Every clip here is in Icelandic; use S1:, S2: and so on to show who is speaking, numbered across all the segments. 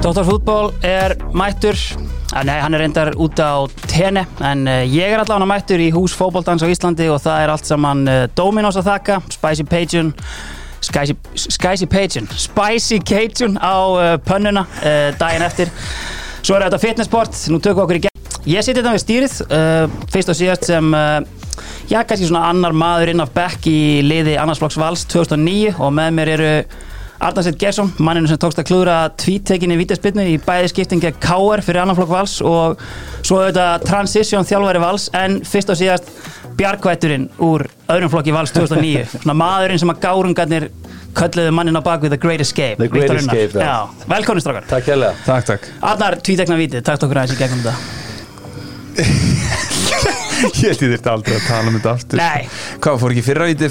S1: Tóttarfútból er mættur Ah, Nei, hann er reyndar út á tenni En uh, ég er allan mættur í hús fótboltans á Íslandi Og það er allt saman uh, Dominos að þakka Spicy Cajun Spicy, spicy Cajun Spicy Cajun á uh, pönnuna uh, Daginn eftir Svo er þetta fitnessport, nú tökum við okkur í gegn Ég siti þetta við stýrið uh, Fyrst og síðast sem uh, Já, kannski svona annar maður inn af bekk í liði annarsflokks vals 2009 og með mér eru Arnarsett Gesson, manninu sem tókst að klúðra tvítekinni vítaspinnu í bæði skiptinga KR fyrir annarflokk vals og svo auðvitað transition þjálfari vals en fyrst og síðast bjargvætturinn úr öðrum flokki vals 2009 svona maðurinn sem að gárungarnir kölluðu mannin á baku The Great Escape
S2: The Great
S1: Viktor Unnar.
S2: Escape, já.
S1: Já, velkomin strákar
S2: Takk hérlega
S3: Takk, takk
S1: Arnar, tvítekna vítið, takt okkur aðeins í gegnum þetta
S3: Ég held ég þurfti aldrei að tala um þetta aftur
S1: Nei.
S3: Hvað, fór ekki fyrra viti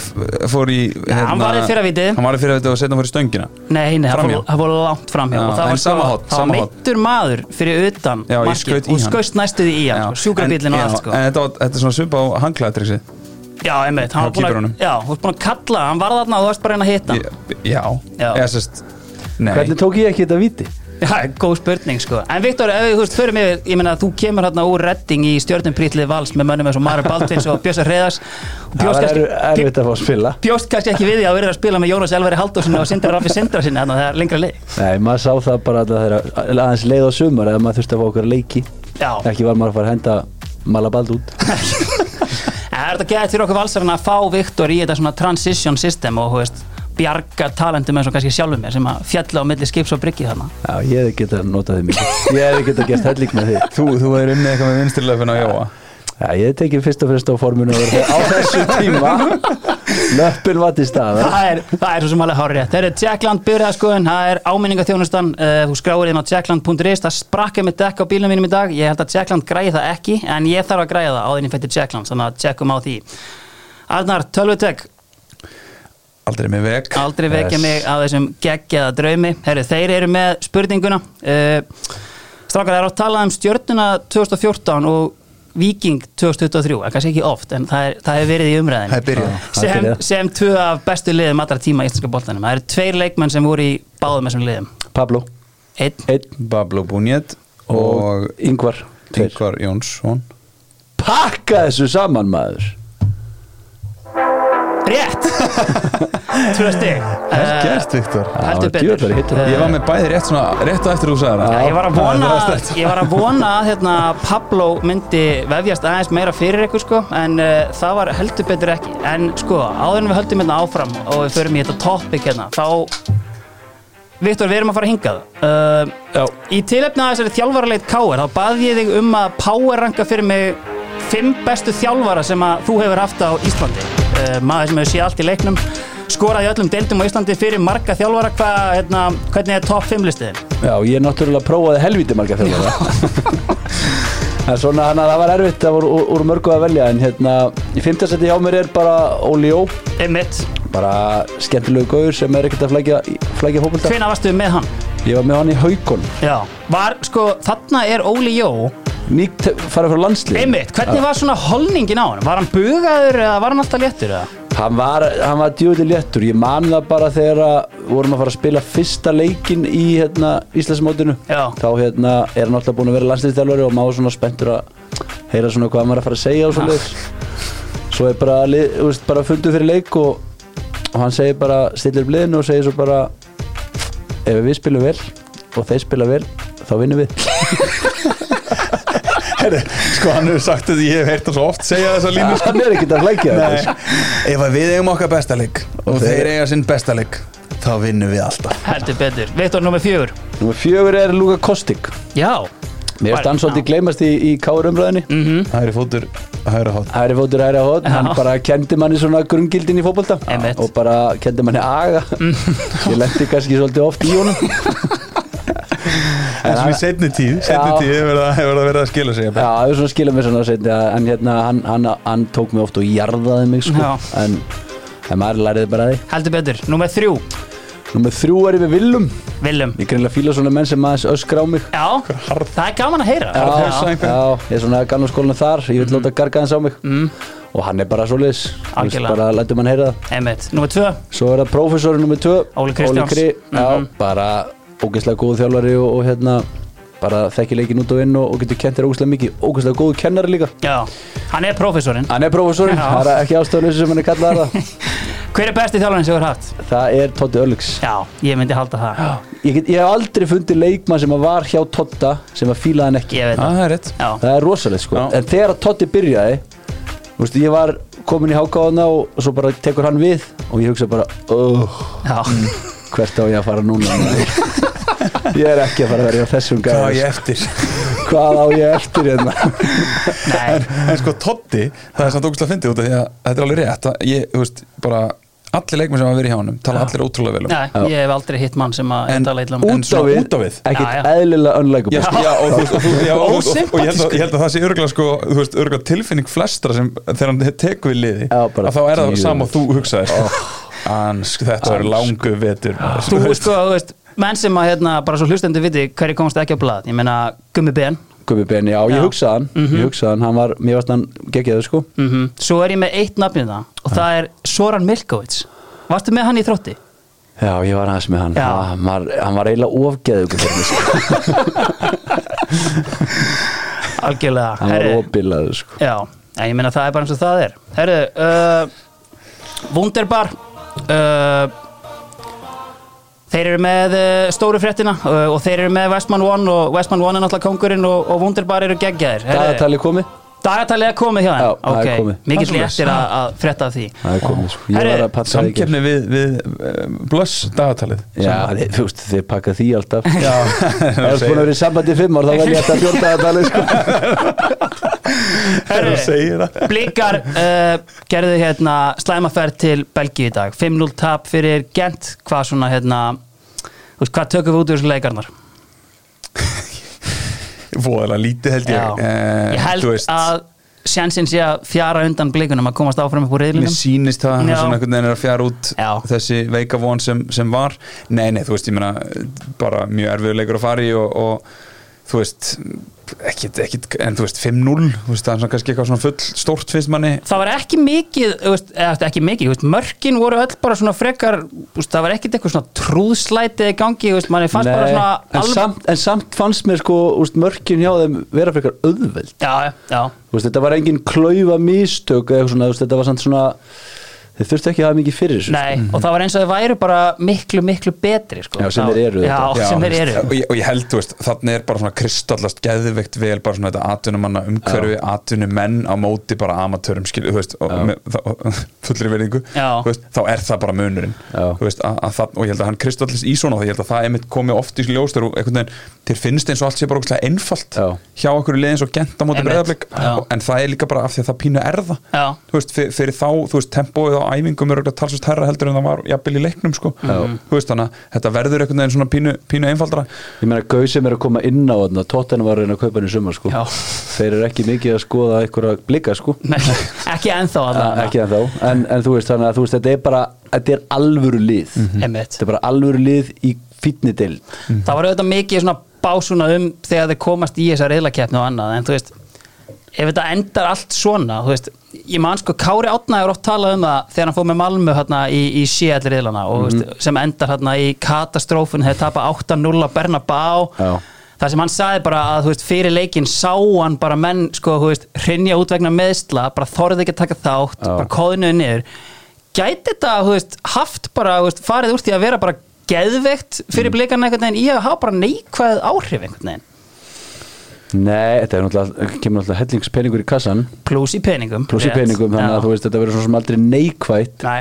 S3: Fór í hérna-
S1: hann var í fyrra vítið.
S3: Hann var í fyrra viti og setna fór í stöngina
S1: Nei, nei, það
S3: Framhjá.
S1: fór- það fór langt framhjá
S3: Já,
S1: og það
S3: en
S1: var,
S3: sama hot,
S1: það var
S3: sama hot.
S1: meittur maður fyrir utan
S3: Já, ég
S1: markið
S3: skaut í
S1: og
S3: hann.
S1: skaust næstuði í hann, sko, sjúkrabílinn og
S3: En-
S1: allt
S3: já,
S1: sko.
S3: En þetta, var, þetta er svona svipa á hanglaðatriksi
S1: Já, einmitt, hann
S3: hjá
S1: var búin að,
S3: keeperunum.
S1: já, þú varst búin að kalla, hann var þarna og þú varst bara að reyna að hitta hann.
S3: Já,
S1: Já.
S3: eða sérst Nei,
S2: Hvernig tók ég ekki þetta viti?
S1: Já, góð spurning sko. En Viktor, ef við, þú veist, förum yfir, ég meina, þú kemur hérna úr redding í stjörnumprýtlið vals með mönnum eins og Mara Baldvins og Björsa Reyðars. og
S2: Það
S1: bjóst
S2: var
S1: kannski-
S2: erf- erfitt að fá að spila
S1: Bjóst kannski ekki við því að verið að spila með Jónas Elveri Haldósson og Sindra Raffi Sindra sinni, þannig að það er lengra leið.
S2: Nei, maður sá það bara alltaf þegar aðeins leið á sumar eða maður þurfti að fá okkur leiki
S1: Já.
S2: Ekki var maður að fara að henda malabald út
S1: En Það er þetta gæðið fyrir okkur valsarinn að fá Viktor í þetta svona transition system og þú veist, bjarga talentum eins og kannski sjálfum mér sem að fjalla á milli skips og bryggi þarna
S2: Já, ég hefði getað notað þig mikið Ég hefði getað gert helling með þig
S3: þú, þú er unnið eitthvað með vinstirlefin á Jóa
S2: Já, ég hefði tekið fyrst og fremst á forminu og verið á þessu tíma Löppin var til staða
S1: Það er, það er svo sem alveg hárið Það er Jackland byrjaðaskoðun, það er áminningaþjónustan uh, Þú skráir inn á jackland.is Það sprakkið með dekk á bílum mínum í dag Ég held að Jackland græði það ekki En ég þarf að græða það áður en ég fætti Jackland Þannig að checkum á því Arnar, tölvutek,
S3: Aldrei með veg
S1: aldrei vekja
S2: Yes.
S1: mig af þessum geggjaða draumi Herru, þeir eru með spurninguna uh, Strákar, það er að tala um stjörnuna 2014 og Viking 2023, en kannski ekki oft en það, er, það hefur verið í umræðinni
S3: Það er byrjað.
S2: það er
S1: sem,
S2: byrjað.
S1: sem tvö af bestu liðum allra tíma í íslenska boltanum það eru tveir leikmenn sem voru í báðum þessum liðum
S2: Pablo,
S1: einn,
S2: einn
S3: Bablo Bunjet og
S2: og Ingvar, tveir
S3: Ingvar Jónsson
S2: Pakka þessu saman maður
S1: rétt tvö stig
S3: Vel
S1: Eh,
S3: gert, Viktor
S2: Já,
S1: heldur betur Eh,
S2: djöfull, hittir hún.
S3: Ég var með bæði rétt svona, rétt á eftir þú sagði
S1: Já,
S3: það
S1: ég var að vona
S3: Það er
S1: að,
S3: stærkt.
S1: ég var að, vona að hérna, Pablo myndi vefjast aðeins meira fyrir ykkur sko, en uh, það var heldur betur ekki en sko, áður en við höldum hérna áfram og við förum í þetta topic hérna þá, Viktor, við erum að fara hingað uh,
S2: Já.
S1: í tilefni að þessari þjálfaraleit Káir þá bað ég þig um að power ranka fyrir mig fimm bestu þjálfara sem að þú hefur haft á Íslandi uh, maður sem hefur séð allt í leiknum skoraði í öllum deildum á Íslandi fyrir marga þjálfara hva, hérna, hvernig er topp 5 listiðin?
S2: Já, ég náttúrulega prófaði helviti marga þjálfara En svona hann að það var erfitt, það voru úr, úr mörgu að velja En hérna, í fimmtasetti hjá mér er bara Óli Jó
S1: Einmitt.
S2: Bara skemmtilegu gauður sem er ekkert að flækja, flækja fókvölda
S1: Hvenær varstu með hann?
S2: Ég var með hann í haukon
S1: Já. Var, sko, þarna er Óli Jó
S2: Nýtt farið frá landslið
S1: Einmitt, hvernig var svona holningin á hann? Var hann bugaður eða var hann alltaf léttur eða?
S2: Hann var, hann var djúviti léttur, ég man það bara þegar að vorum að fara að spila fyrsta leikin í hérna, Íslandsmótinu
S1: Já.
S2: Þá hérna, er hann alltaf búin að vera landslýstælvari og maður svona spenntur að heyra svona hvað hann var að fara að segja og svona Svo er bara, lið- þú veist, bara fundu fyrir leik og, og hann segir bara, stillir upp liðinu og segir svo bara Ef við spilum vel og þeir spila vel, þá vinnum við
S3: Herri, sko hann hefur sagt þetta, ég hef heyrt það svo oft segja þessa línu sko.
S2: Hann er ekkert að flækja þetta,
S3: Nei, ef að við eigum okkar bestaleg og,
S2: Og
S3: þeir
S2: þeir-
S3: eiga sinn bestaleg þá vinnum við alltaf
S1: Heldur betur, Viktor nummer fjögur
S2: Númer fjögur er Luka Kostik
S1: Já
S2: Mér
S1: Var-
S2: finnst hann svolítið gleymast í, í káur umröðinni
S3: Hægri fótur, hægri hótt
S2: Hæri fótur, hæri hótt,
S1: Já.
S2: hann bara kendi manni svona grungildin í fótbolta
S1: Einmitt. Mm.
S2: og bara kendi manni aga ég lendi kannski svolítið oft í honum
S3: En sem í setni tíð, setni
S2: Já.
S3: tíð hefur það- hefur það verið að skila sig
S2: Já, það er svona skilum við svona setni en hérna, hann, hann, hann tók mig oft og jarðaði mig sko,
S1: Já.
S2: en, en maður læriði bara af því
S1: Heldur betur, nummer þrjú
S2: Númer þrjú er yfir Willum
S1: Willum
S2: Ég greinlega fíla svona menn sem aðeins öskra á mig
S1: Já,
S3: harð-
S1: það er gaman að heyra
S2: Já,
S3: hugsa einhvern.
S2: já, ég er svona gamla skólanum þar, ég vil
S1: Mm.
S2: láta garga hans á mig og hann er bara svoleiðis, Þú veist,
S1: Algjörlega.
S2: bara lætum hann heyra það
S1: Einmitt, nummer tvö
S2: Svo er það prófessorinn nummið 2
S1: Óli Kristjáns.
S2: Kri, já, bara ógeðslega góð þjálfari og, og hérna bara þekkir leikin út og inn og, og getur kent þér ógeðslega mikið ógeðslega góð kennari líka
S1: Já, hann er prófessorinn
S2: hann er prófessorinn,
S1: Já.
S2: það er ekki ástofanleysi sem hann er kallað það
S1: Hver er besti þjálfarinn sem þú hefur haft?
S2: það er Totti Örlíks
S1: Já, ég myndi halda það
S2: ég, get, ég hef aldrei fundið leikmann sem að var hjá Totta sem að fílaði hann ekki
S1: Ég veit
S3: Já,
S1: það
S3: það er rétt
S1: Já,
S2: það er rosalegt sko
S3: Já.
S2: en þegar að Totti byrjaði þú veist, ég var komin í hákáðana og, og svo bara tekur hann við og ég hugsa bara oh,
S1: já,
S2: hvert á ég að fara núna maður?" ég er ekki að fara að vera hjá þessum
S3: Hvað á
S2: gæðis
S3: ég eftir?
S2: hvað á ég eftir hérna
S1: nei,
S3: en, en sko Totti, það er samt ógustlega fyndið út af því að þetta er alveg rétt að ég, þú veist, bara allir leikmenn sem hafa verið hjá honum tala allir ótrúlega vel um
S1: nei, ég hef aldrei hitt mann sem að
S3: En
S1: tala illa um
S3: út-
S1: En-
S2: út á
S3: svona
S2: við,
S3: út á við.
S1: Já,
S2: ekkert
S1: já.
S2: eðlilega
S3: Já,
S2: unlikable sko.
S3: já, og, þú, veist, og, þú, já, og, og, og, og ég, held að,
S1: Ósympatískur.
S3: ég held að það sé örgulega sko, þú veist, örgulega tilfinning flestra sem þegar hann tekur við liði
S2: Já, bara
S3: að þá er það
S2: tíu.
S3: sama og þú hugsaðir Ansk, þetta verður langu vetur
S1: Þú sko, þú veist, menn sem að hérna, bara svo hlustendur viti hverju komst ekki á blad Ég meina, Gummi Ben
S2: Gummi Ben, já,
S1: Já. Mhm.
S2: ég hugsaði hann ég hugsaði hann, hann var, mér varst hann geggjaður sko
S1: mm Svo er ég með eitt nafnið það og það er Soran Milkovits Varstu með hann í þrótti?
S2: já, ég var aðeins með hann
S1: Já.
S2: hann var, hann var eiginlega ofgeðugur fyrir mig sko.
S1: Algjörlega
S2: hann var
S1: herri,
S2: ofbilaður sko
S1: Já, en ég meina það er bara eins og það er Herru, uh, Wunderbar uh, Þeir eru með uh, stóru fréttina uh, og þeir eru með Westman One og Westman One er náttúrulega kongurinn og, og Wunderbar eru geggjaðir Herru,
S2: dagatali komið
S1: Dagatalið er komið hjá þeim
S2: Já, það er
S1: Ok,
S2: komið.
S1: Mikill
S3: Það er svoleiðis.
S1: léttir að, að frétta af því
S2: Það er komið, sko. Ég
S1: Herri,
S2: var að pakka það í gær.
S3: Samkefni við, við eh, blöss dagatalið
S2: Já, þið, þú veist, þið pakka því alltaf Ef
S3: Já,
S2: þú ert búin að vera í sambandi í fimm ár þá verð ég alltaf fjórta að tala sko.
S3: Þegar þú segir það
S1: Blikar uh, gerðu hérna slæmaferð til Belgíu í dag 5-0 tap fyrir Gent hvað svona hérna þú veist, hvað tökum við út úr þessu leikarnar
S3: Voðalega lítið held ég eh,
S1: ég held
S3: þú veist,
S1: að sjansinn sé að fjara undan blikunum að komast áfram upp úr
S3: Mér
S1: reyðlinum
S3: sýnist það hann
S1: Já.
S3: svona einhvern veginn er að fjara út
S1: Já.
S3: þessi veika von sem, sem var Nei, nei, þú veist, ég meina bara mjög erfiður leikur að fara í og, og þú veist, ekkit, ekkit en þú veist, 5-0, þú veist, það er svona kannski eitthvað svona full stórt finnst manni
S1: það var ekki mikið, þú veist, eða ekki mikið þú veist, mörkin voru öll bara svona frekar þú veist, það var ekkit eitthvað svona trúðslætið í gangi, þú veist, manni fannst bara svona
S2: en,
S1: alv-
S2: samt, en samt fannst mér sko úst, mörkin hjá þeim vera frekar auðveld
S1: já, já,
S2: úst, Þetta var engin klaufa mistök eða eitthvað svona, úst, þetta var samt svona þeir þurftu ekki að hafa mikið fyrir þessu
S1: nei,
S3: Mhm.
S1: og það var eins og þau væru bara miklu, miklu betri sko.
S2: Já, sem
S1: Það-
S2: þeir eru,
S1: já,
S2: þetta.
S1: sem þeir
S3: þú veist,
S1: eru
S3: og, ég, og ég held, þú veist, þannig er bara svona kristallast geðveikt vel bara svona þetta atunumanna umhverfi, atunumenn á móti bara amatörum, skilu, þú veist og, með, það, og fullri verðingu
S1: Já.
S3: þú veist, þá er það bara munurinn
S2: Já.
S3: Þú veist, að, að það, og ég held að hann kristallist í svona og ég held að það einmitt komi oft í sljóstur og einhvern veginn, þér finnst eins og allt sé bara ógeðslega einfalt
S2: Já.
S3: hjá okkur liðin svo gent á móti
S1: Einmitt.
S3: breyðarblik
S1: Já.
S3: en það er líka bara af því að það pínu erða
S1: Já.
S3: þú veist, fyrir, fyrir þá, þú veist, tempóið á æfingum er auðvitað talsast herra heldur en það var jafnvel í leiknum, sko, þú veist, þannig að þetta verður einhvern veginn svona pínu, pínu einfaldra
S2: Ég meina, gauð sem er að koma inn á þarna Tottenham var að reyna að kaupa hann í sumar sko
S1: Já.
S2: Þeir eru ekki mikið að skoða einhverja blika sko
S1: Nei, ekki ennþá
S2: Að-
S1: allavega.
S2: Ah, Ekki en þá, en, en þú veist þannig að þú veist, þetta er bara, þetta er alvöru lið
S1: Einmitt.
S2: Mhm. Þetta mhm. er bara alvöru lið í fítni
S1: það var auðvitað mikið svona básuna um þegar þeir komast í þessa reyðlakeppni og annað en þú veist, ef þetta endar allt svona, þú veist, ég man sko Kári Átna er oft talað um það þegar hann fór með Malmö hérna í, í síall reyðlana og mm
S2: Mhm.
S1: veist, sem endar hérna í katastrófun þegar tapa 8-0 að Bernabá
S2: Já.
S1: Það sem hann sagði bara að þú veist, fyrir leikinn sá hann bara menn sko, þú veist, hrinja út vegna meðsla, bara þorði ekki að taka þátt,
S2: Já.
S1: bara kóðinuði niður. Gæti þetta þú veist, haft bara, þú veist, farið úr því að vera bara geðveikt fyrir mm. blikana einhvern veginn, ég hafa bara neikvæð áhrif einhvern veginn,
S2: Nei, þetta er náttúrulega, kemur náttúrulega hellingspeningur í kassan
S1: pluss í peningum.
S2: pluss í
S1: Rétt.
S2: peningum, þannig
S1: Já.
S2: að þú veist þetta verður svona sem aldrei neikvætt
S1: Nei.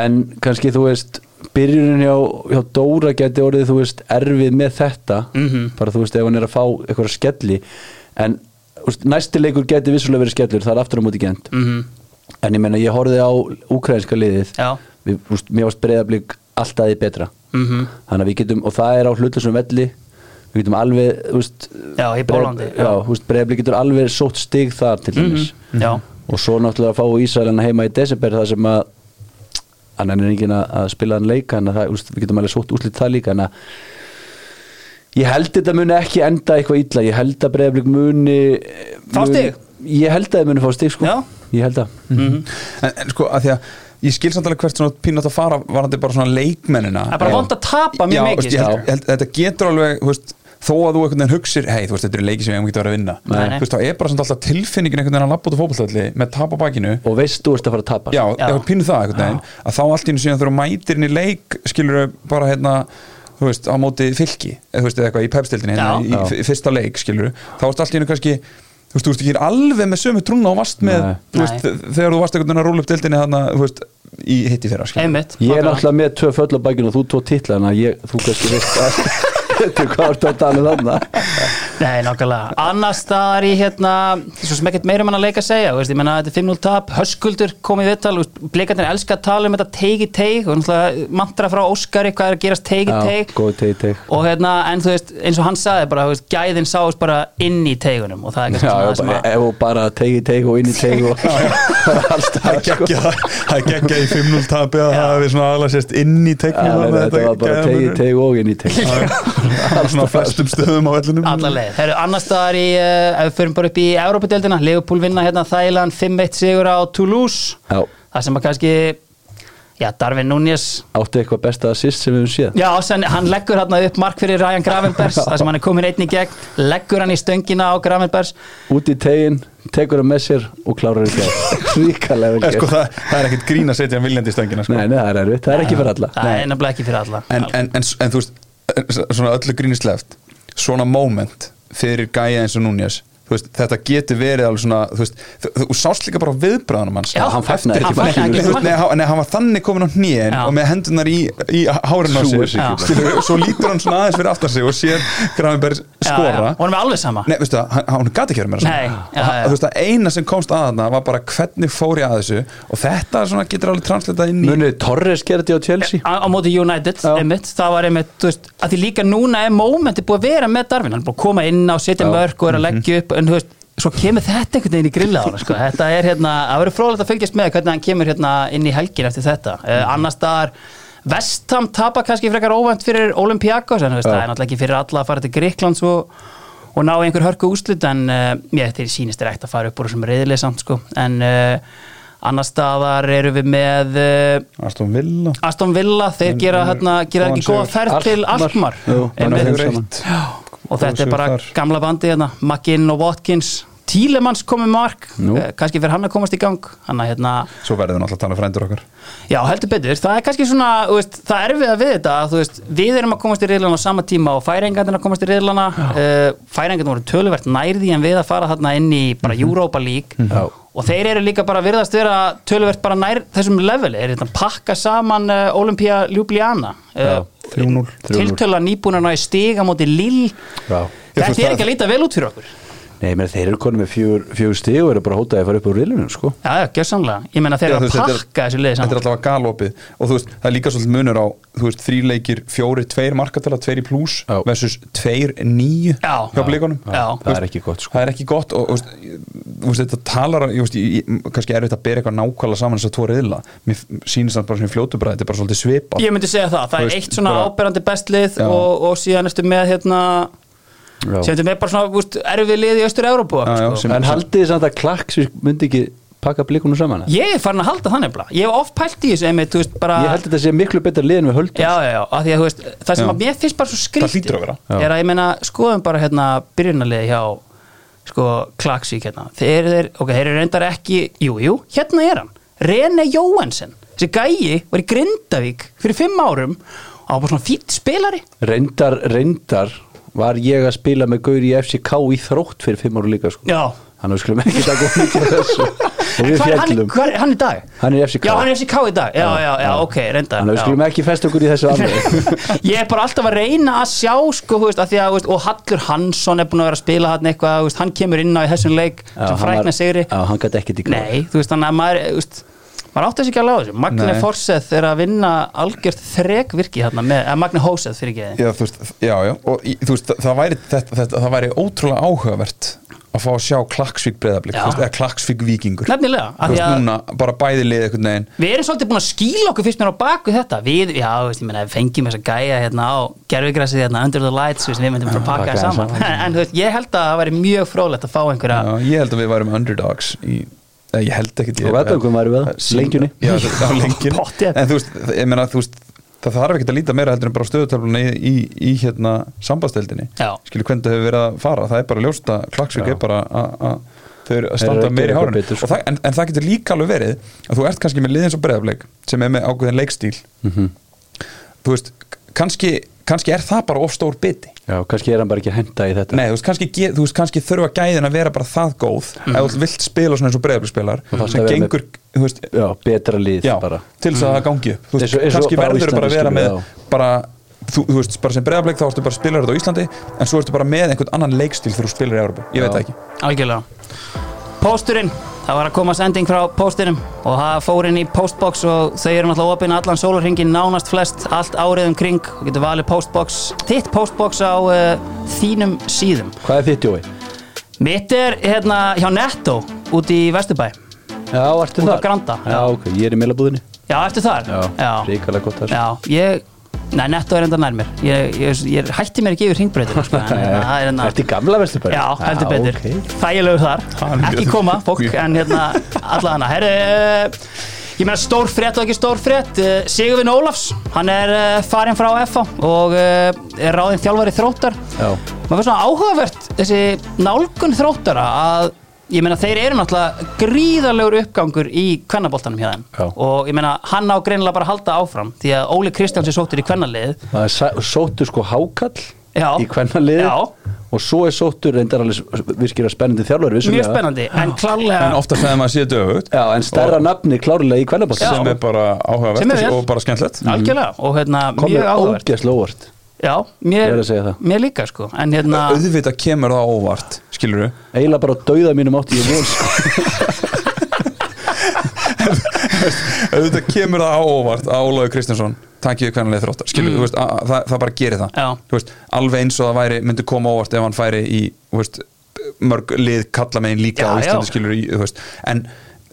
S2: en kannski þú veist byrjunin hjá, hjá Dóra geti orðið þú veist erfið með þetta
S1: Mhm.
S2: bara þú veist ef hann er að fá eitthvað skelli en þú veist, næsti leikur geti vissulega verið skellur, það er aftur á móti gent
S1: Mhm.
S2: en ég menna ég horfið á ukrainska liðið
S1: Já.
S2: Við, þú veist, mér varst breyðablík alltaf því betra
S1: Mhm.
S2: þannig að við getum, og það er á hlutlusum velli við getum alveg, þú veist
S1: Já, í Póllandi,
S2: Breiða- já, þú veist, breyðablík getur alveg sótt stig þar til dæmis
S1: Mhm. Já.
S2: og svo náttúrulega að fá Ísælina hérna heima í desember þar sem að hann er enginn að, að spila hann leika þannig að það, þú veist, við getum alveg sótt úslit það líka þannig að ég held þetta muni ekki enda eitthvað illa, ég held að breyðablík muni
S1: Fá
S2: mun-
S1: stig?
S2: ég held að þið muni fá stig sko
S1: Já. Mhm.
S2: ég held að
S3: en, en sko að því að ég skil samt alveg hvert svona pínat að fara varandi bara svona leikmennina
S1: Það er bara
S3: Já.
S1: vont að tapa mjög
S3: Já,
S1: mikið,
S3: veist, ég held-
S1: skilur.
S3: ég held- þetta getur alveg þú veist, þó að þú einhvern veginn hugsir hei, þú veist, þetta eru leiki sem ég ekki að vera að vinna
S1: Nei, nei.
S3: Þú veist, þá er bara samt alltaf tilfinningin einhvern veginn að labba út á fótballtalli með tap á bakinu
S2: og veist þú ert að fara að tapa sko.
S3: já,
S1: Já.
S3: já. pínu það einhvern veginn að þá allt í hennu síðan þurfa mætir inn í leik skilur bara hérna þú veist, á móti fylki eða þú veist, eða eitthvað í
S1: Já.
S3: pepstildinni hérna, í, í fyrsta leik skilur þá ertu allt í hennu kannski þú veist, þú veist ekki alveg með sömu trúna og vast með
S2: Nei.
S3: þú veist, þegar þú varst einhvern veginn að rúla upp dildinni þarna, þú veist, í hitti fyrra skilur
S1: einmitt
S2: ég er
S1: nákvæmlega.
S2: náttúrulega með tvö föll á bakinu og þú tvo titla en að ég, þú kannski veist að hvað ertu að tala um þarna
S1: Nei, nákvæmlega. Annars staðar í hérna, svo sem ekkert meira um hann að leika að segja, þú veist, ég menna þetta er 5-0 tap, höskuldur kom í viðtal, blikandir elska að tala um þetta teigi teig, og náttúrulega mantra frá Óskari, hvað er að gerast teigi
S2: já, sko.
S1: teig,
S2: góð teg, teg
S1: og hérna, en þú veist, eins og hann sagði bara, þú veist, gæðin sáist bara inn í teigunum, og það er
S2: Já,
S1: kannski
S2: já,
S1: svona
S2: bara,
S1: það
S2: ef og bara tegi tegi og inn í tegi og alltaf sko.
S3: geggja það geggja í 5-0 tapi að það hefði svona aðla sérst inn í
S2: Já,
S3: teiknum
S2: nei, þetta var bara tegi tegi og inn í tegi
S3: svona flestum stöðum á
S1: sem
S3: vellinum
S1: alla leið. Það eru annars staðar í, uh, ef við förum bara upp í Európa-deldina, Leopold vinna hérna Þæland 5-1 sigur á Toulouse,
S2: já,
S1: það sem að kannski, já, Darvin Núñez
S2: áttu eitthvað besta assist sem við höfum séð
S1: Já, sen, hann leggur hann upp mark fyrir Ryan Gravenbergs þar sem hann er komin einn í gegn leggur hann í stöngina á Gravenbergs
S2: út í tegin, tekur það með sér og klárar þetta ríkalega vel
S3: Eh, sko,
S2: gert.
S3: það, það er ekkert grín að setja hann viljandi í stöngina sko.
S2: nei, nei, það er erfitt, það er ekki fyrir alla
S1: Það er nefnilega ekki fyrir alla
S3: en, en, en, en þú veist svona öllu grínisleft svona moment fyrir gæja eins og núnjas veist, þetta getur verið alveg svona þú, veist, þú, þú sást líka bara viðbræðanum hans
S1: Já, hann
S2: fagnaði
S3: Eftir-
S2: ekki
S3: Nei,
S1: markinu.
S3: þú veist, nei, hann- nei, hann var þannig komin á hnýin
S1: Já.
S3: og með hendunar í, í hárinu á
S2: Súgur
S3: sér
S2: sig
S1: Já.
S3: Skilur við, og svo lítur hann svona aðeins fyrir aftar sig og sér Gravenberg skora
S1: og hann er alveg sama
S3: Nei, veistu það, hann, hann gati ekki verið meira
S1: Nei, já,
S3: saman Og hann-
S1: já.
S3: Þú veist það, eina sem komst að þarna var bara hvernig fór ég að þessu og þetta svona getur alveg transletað inn í
S2: munið Torres gerði á Chelsea
S1: á, á móti United,
S2: Já.
S1: einmitt, það var einmitt þú veist, að því líka núna er momenti búið að vera með Darvin, hann er búið að koma inn á setja
S2: Já. Mhm.
S1: mörg og er að leggja upp, en þú veist svo kemur þetta einhvern veginn í grilla á hann sko. þetta er hérna, það verður frólægt að fylgjast með hvernig hann kemur hérna inn í helgin eftir þetta uh,
S2: Mhm.
S1: annars staðar Vestham tapa kannski frekar óvænt fyrir Olympiakos en þú veist,
S2: Já.
S1: það er náttúrulega ekki fyrir alla að fara til Gríklands og, og ná í einhver hörku úslit en uh, mér þeir sýnist er ekkert að fara upp úr þessum reyðilegsamt sko. en uh, annars staðar eru við með uh,
S3: Aston Villa
S1: Aston Villa, þeir
S3: En-
S1: gera,
S3: en-
S1: hérna, gera ekki
S3: Góðan
S1: góða
S3: sigur.
S1: ferð til Alkmaar
S2: Jú,
S1: Einmitt.
S2: bara
S3: Fjögur
S2: þeir saman.
S3: eitt.
S1: og þetta er
S3: sigur
S1: bara
S3: þar.
S1: gamla bandi hérna, Makin og Watkins Tílemanns komið mark,
S2: Nú.
S1: eh, kannski fyrir hann að komast í gang hann að hérna,
S3: Svo verður hann alltaf að tala um frændur okkar
S1: já heldur betur það er kannski svona, þú veist, það er við að við þetta að, þú veist, við erum að komast í riðlana á sama tíma og færingarnir að komast í riðlana uh, færingarnir voru töluvert nærði en við að fara þarna inn í
S3: Mhm.
S1: bara Europa League
S2: Já.
S1: og þeir eru líka bara virðast vera töluvert bara nær þessum leveli, er þetta að pakka saman uh, Olympia Ljubljana uh,
S2: 3-0 3-0.
S1: tiltöla nýbúin að ná í stiga móti lill
S2: Já.
S1: þetta
S3: fannst
S1: er
S3: það-
S1: ekki að líta vel út fyrir okkur
S2: Nei, menn, þeir eru konum með fjögur, fjögur stig og eru bara hótaði að fara upp úr rilunum sko.
S1: já, já, gjörsamlega, ég menna þeir
S3: Já,
S1: eru
S3: þú
S1: að
S3: veist, þetta er-
S1: pakka þessu liði
S3: Þetta er
S1: saman
S3: alltaf að galopið og þú veist, það er líka svolítið munur á þú veist, þrý leikir, fjóri, tveir markatala tveir í pluss
S2: Já.
S3: versus tveir, níu
S1: Já.
S3: hjá blíkonum
S1: Já.
S2: Það er ekki gott sko.
S3: Það er ekki gott og þú veist, þú veist, þetta talar, ég veist, ég, ég- kannski er þetta að bera eitthvað nákvæmlega saman þess að tvo reyðla mér sýnist það bara svona í fljótu bræði, þetta er bara svolítið svipað
S1: ég myndi segja það, það
S3: Þú
S1: er
S3: veist,
S1: eitt svona
S3: bara-
S1: áberandi bestlið
S3: Já.
S1: og, og síðan ertu með hérna,
S2: Já.
S1: síðan ertu með bara svona úst, erfið lið í Östur-Európu
S3: Já, já,
S1: sko.
S3: sem-
S2: En haldið þið samt að klaks myndi ekki pakka blíkunum saman eða?
S1: ég er farin að halda það nefnilega ég hef oft pælt í þessu einmitt, þú veist, bara
S2: Ég held að þetta sé miklu betra lið en við höldum
S1: Já, já, já, af því að þú veist, það sem
S3: Já.
S1: að mér finnst bara svo skrítið
S3: Það hlýtur að vera.
S2: Já.
S1: Er að ég meina, skoðum bara hérna byrjunarliði hjá sko, Klagsvík hérna Þeir eru, ok, þeir eru reyndar ekki, jú, jú, hérna er hann Rene Jóhansen, þessi gæi var í Grindavík fyrir fimm árum og hann var bara svona fýtt spilari
S2: Reyndar, reyndar var ég að spila með Gauri í FCK í þrótt fyrir fimm ára líka sko.
S1: Já,
S2: Þannig að við skulum ekki taka of mikið af þessu Og
S1: en
S2: við
S1: hvað er hann,
S2: fjallum
S1: hvað er hann í dag?
S2: Hann er í FCK.
S1: Já, hann er í FCK í dag, já, já, já, ok, reyndar
S2: Þannig að við
S1: já.
S2: skulum ekki festa okkur í þessu alveg
S1: ég er bara alltaf að reyna að sjá sko, þú veist, að því að, þú veist, og Hallur Hansson er búin að vera að spila hann eitthvað, þú veist, hann kemur inn á í þessum leik
S2: Já,
S1: sem
S2: hann var-
S1: frækna sigri
S2: Já, hann gæti ekkert í káur
S1: nei, þú veist, þannig að maður þú veist, maður átti þessi ekki að lága þessu Magne
S3: Nei.
S1: Forseth er að vinna algjört þrekvirki hérna með, eða Magne Hóseth fyrir ekki
S3: Já, þú veist, já, já, og í, þú veist, það, það, væri, þetta, þetta, það væri ótrúlega áhugavert að fá að sjá klaksvík breyðablík,
S1: Já.
S3: þú veist, eða klaksvík vikingur
S1: nefnilega,
S3: Þú
S1: af því
S3: veist,
S1: að
S3: núna, bara bæði liðið einhvern veginn
S1: Við erum svolítið búin að skýla okkur fyrst mér á baku þetta Við, já, þú veist, ég meina, við fengjum þess að gæja hérna á gerfigræsið hérna, under the lights þú veist, við myndum bara pakka
S2: pakka
S1: það saman en, en þú veist, ég held að það væri mjög frólægt að fá einhverja
S3: Já, ég held að við værum underdogs í Eh, ég held ekkit ég-
S2: Á vettvöngum værum við það,
S3: Sí-
S2: lengjunni.
S3: já, á lengjunni
S1: Pottþétt.
S3: en þú veist, ég meina, þú veist það þarf ekkit að líta meira heldur en bara stöðutöfluna í, í, í hérna sambandsdeildinni
S1: Já.
S3: skilur hvernig það hefur verið að fara það er bara ljóst að klagsvík
S2: Já.
S3: er bara að- að þau eru að
S2: Þeir eru
S3: standa
S2: að
S3: meira í
S2: gera
S3: hárun
S2: eitthvað betur, sko.
S3: og það, en, en það getur líka alveg verið að þú ert kannski með liðin svo breyðafleik sem er með ákveðin leikstíl
S2: Mhm.
S3: þú veist, kannski, kannski er það bara of stór biti
S2: Já, kannski er hann bara ekki að henda í þetta
S3: Nei, þú veist, kannski, ge- þú veist, kannski þurfa gæðin að vera bara það góð ef þú vilt spila svona eins og breyðafleikspilar
S2: þarft
S3: sem
S2: Mhm. að vera með-
S3: gengur, þú veist,
S2: Já, betra líð
S3: já,
S2: bara
S3: til þess að það gangi upp Þú veist,
S2: Eins og- eins og
S3: kannski
S2: bara á
S3: verður bara að
S2: Íslandi,
S3: vera með
S2: skilur
S3: bara, þú, þú veist, bara sem breyðarbleik þá ertu bara að spila þetta á Íslandi en svo ertu bara með einhvern annan leikstil þegar þú spilar í Európa ég veit
S2: Já.
S3: það ekki
S1: Algjörlega Pósturinn, það var að koma sending frá póstinum og það fór inn í postbox og þau eru náttúrulega opinn allan sólarhingin nánast flest allt árið um kring og getur valið postbox, þitt postbox á uh, þínum síðum
S2: Hvað er þitt, Jói?
S1: Mitt er hérna hjá Netto út í Vesturbæ
S2: Já, ertu
S1: Út á
S2: þar?
S1: Granda.
S2: Já, ok, ég er í meilabúðinni
S1: Já, eftir þar
S2: Já, ríkalega gott þar
S1: Já, ég Nei, Netto er enda nær mér Ég, ég, ég hætti mér ekki yfir hringbreytur sko, en, hérna, það er hérna-
S2: Ertu í gamla vesturbæri?
S1: Já, heldur betur
S2: ok.
S1: Þægilegu þar,
S3: Hann-
S1: ekki koma fólk En hérna, alla hana Herru, uh, ég meina stór frétt og ekki stór frétt uh, Sigurvin Ólafs, hann er uh, farinn frá FH Og uh, er ráðinn þjálfari þróttar
S2: Já.
S1: Maður fyrir svona áhugavert Þessi nálgun þróttara að Ég meina þeir eru náttúrulega gríðarlegur uppgangur í kvennaboltanum hjá þeim
S2: Já.
S1: og ég meina hann á greinilega bara að halda áfram því að Óli Kristjáns er sóttur í kvennalið
S2: Það er sa- sóttur sko hákall
S1: Já.
S2: í kvennaliði
S1: Já.
S2: og svo er sóttur reyndar alveg s- virkilega spennandi þjálfur
S1: mjög spennandi en klárlega
S3: en ofta þegar maður sé dögut
S2: Já, en stærra nafni klárlega í kvennabótt
S1: Já.
S3: sem er bara
S1: Sem er
S3: áhugavert
S1: vel.
S3: og bara skemmtilegt
S1: algjörlega og hérna
S2: komið
S1: mjög áhugavert
S2: ógeðslega óvart
S1: Já,
S2: Mm. Ég
S1: mér,
S2: er að segja það.
S1: mér líka sko En hérna,
S3: auðvitað kemur það á óvart skilur þú
S2: eiginlega bara á dauða mínum átti ég von sko.
S3: auðvitað kemur það á óvart að Ólaður Kristinsson takkið hvernig þróttar skilur þú veist, að, að, það, það bara gerir það
S1: Mm. Já.
S3: Þú veist, alveg eins og það væri myndi koma á óvart ef hann færi í þú veist, mörg lið kalla megin líka
S1: Já,
S3: á Íslandi
S1: já.
S3: skilur í, þú veist, en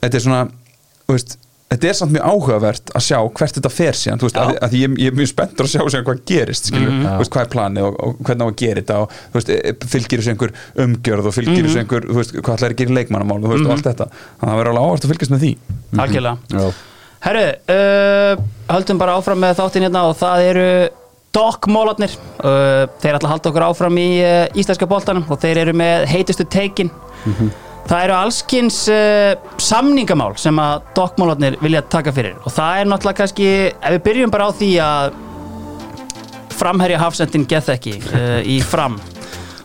S3: þetta er svona þú veist, þetta er samt mjög áhugavert að sjá hvert þetta fer síðan þú veist,
S1: Já. Mhm.
S3: að, að því ég, ég er mjög spenntur að sjá síðan hvað gerist skilur, mm veist, hvað er planið og, og hvernig á að gera þetta og þú veist, e- fylgir þessu einhver umgjörð og fylgir
S1: Mhm.
S3: þessu einhver, þú veist, hvað ætlar að gera í leikmannamál og þú veist, og allt þetta, þannig að það verður alveg áhugavert að fylgjast með því
S1: algjörlega
S2: Já.
S1: Herru, uh, höldum bara áfram með þáttinn hérna og það eru Dokkmólarnir uh, Þeir ætla að halda okkur áfram í uh, íslenska boltanum og þeir eru með heitustu teikin Það eru allskins uh, samningamál sem að dokkmólarnir vilja taka fyrir og það er náttúrulega kannski, ef við byrjum bara á því að framherja hafsendin Gethekki uh, í fram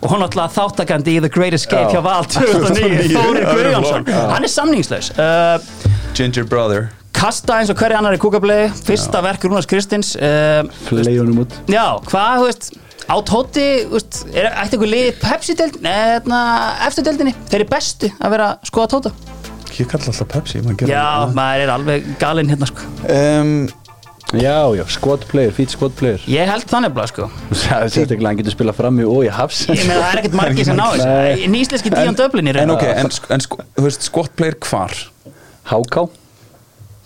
S1: og hún náttúrulega þáttakandi í The Greatest Escape hjá
S2: Já.
S1: Val 2009 Þóri
S3: öðrum
S1: Guðjónsson,
S3: flokk, já.
S1: hann er samningslaus uh,
S3: Ginger Brother
S1: kasta eins og hverja annar í kúkablei fyrsta verk Rúnars Kristins uh,
S2: leiðunum út
S1: já, hvað, þú veist á tóti, þú veist, er ætti einhver lið Pepsi-deld, neðna, eftir-deldinni hérna, þeir eru bestu að vera að skoða tóta
S3: Ég kalla alltaf Pepsi
S1: já, maður er alveg galinn hérna sko.
S3: um,
S2: Já, já, squad player, fít squad player
S1: ég held þannig bara, sko
S2: Sérstaklega hann getur spilað fram í og í hafs
S1: ég meina, það er ekkert margir sem ná
S2: Nei.
S1: þessu nýsleski Díon Döblin í
S3: En
S1: raun
S3: ok, en, sk- en sk- þú veist, skott player hvar?
S2: Háká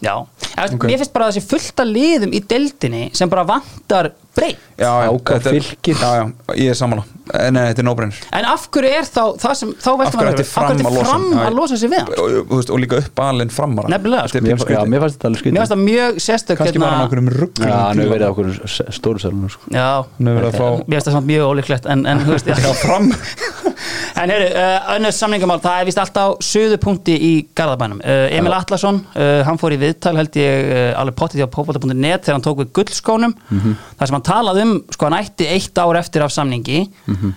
S1: já, okay.
S3: Ok.
S1: mér finnst bara þessi fullta liðum í deldinni sem bara vantar breytt
S3: Já,
S2: Háká,
S3: þetta er-
S2: Fylkir.
S3: Já, já, ég er sammála Eh, Nei, þetta er nóbrennir
S1: en af hverju er þá, það sem, þá
S3: Af
S1: veltum
S3: hverju
S1: maður
S3: ætti
S1: yfir,
S3: fram að losa
S1: fram
S3: hann?
S1: að losa sig við hann
S3: og, og- þú veist, og líka upp alinn framara
S1: Nefnilega, sko.
S3: Þetta er
S2: Mér
S3: pínu
S2: fa- Já,
S3: skrítið.
S2: mér fannst þetta
S1: Mér
S2: alveg skrítið
S1: finnst það mjög sérstök hérna-
S3: Kannski var hann okkur um rugg
S2: Já, hann hefur verið á okkur stóru sælunum sko.
S1: Já,
S3: Hann hefur verið að fá-
S1: mér finnst það samt mjög ólíklegt en, en, þú veist,
S3: Já,
S1: já.
S3: fram
S1: en heyru, uh, önnur samningamál það er vist alltaf suðupunkti í Garðabænum uh, Emil Atlason, uh, hann fór í viðtal held ég uh, alveg pottið á popolta.net þegar hann tók við gullskónum
S3: Mhm.
S1: þar sem hann talaði um, sko hann ætti eitt ár eftir af samningi
S3: Mhm.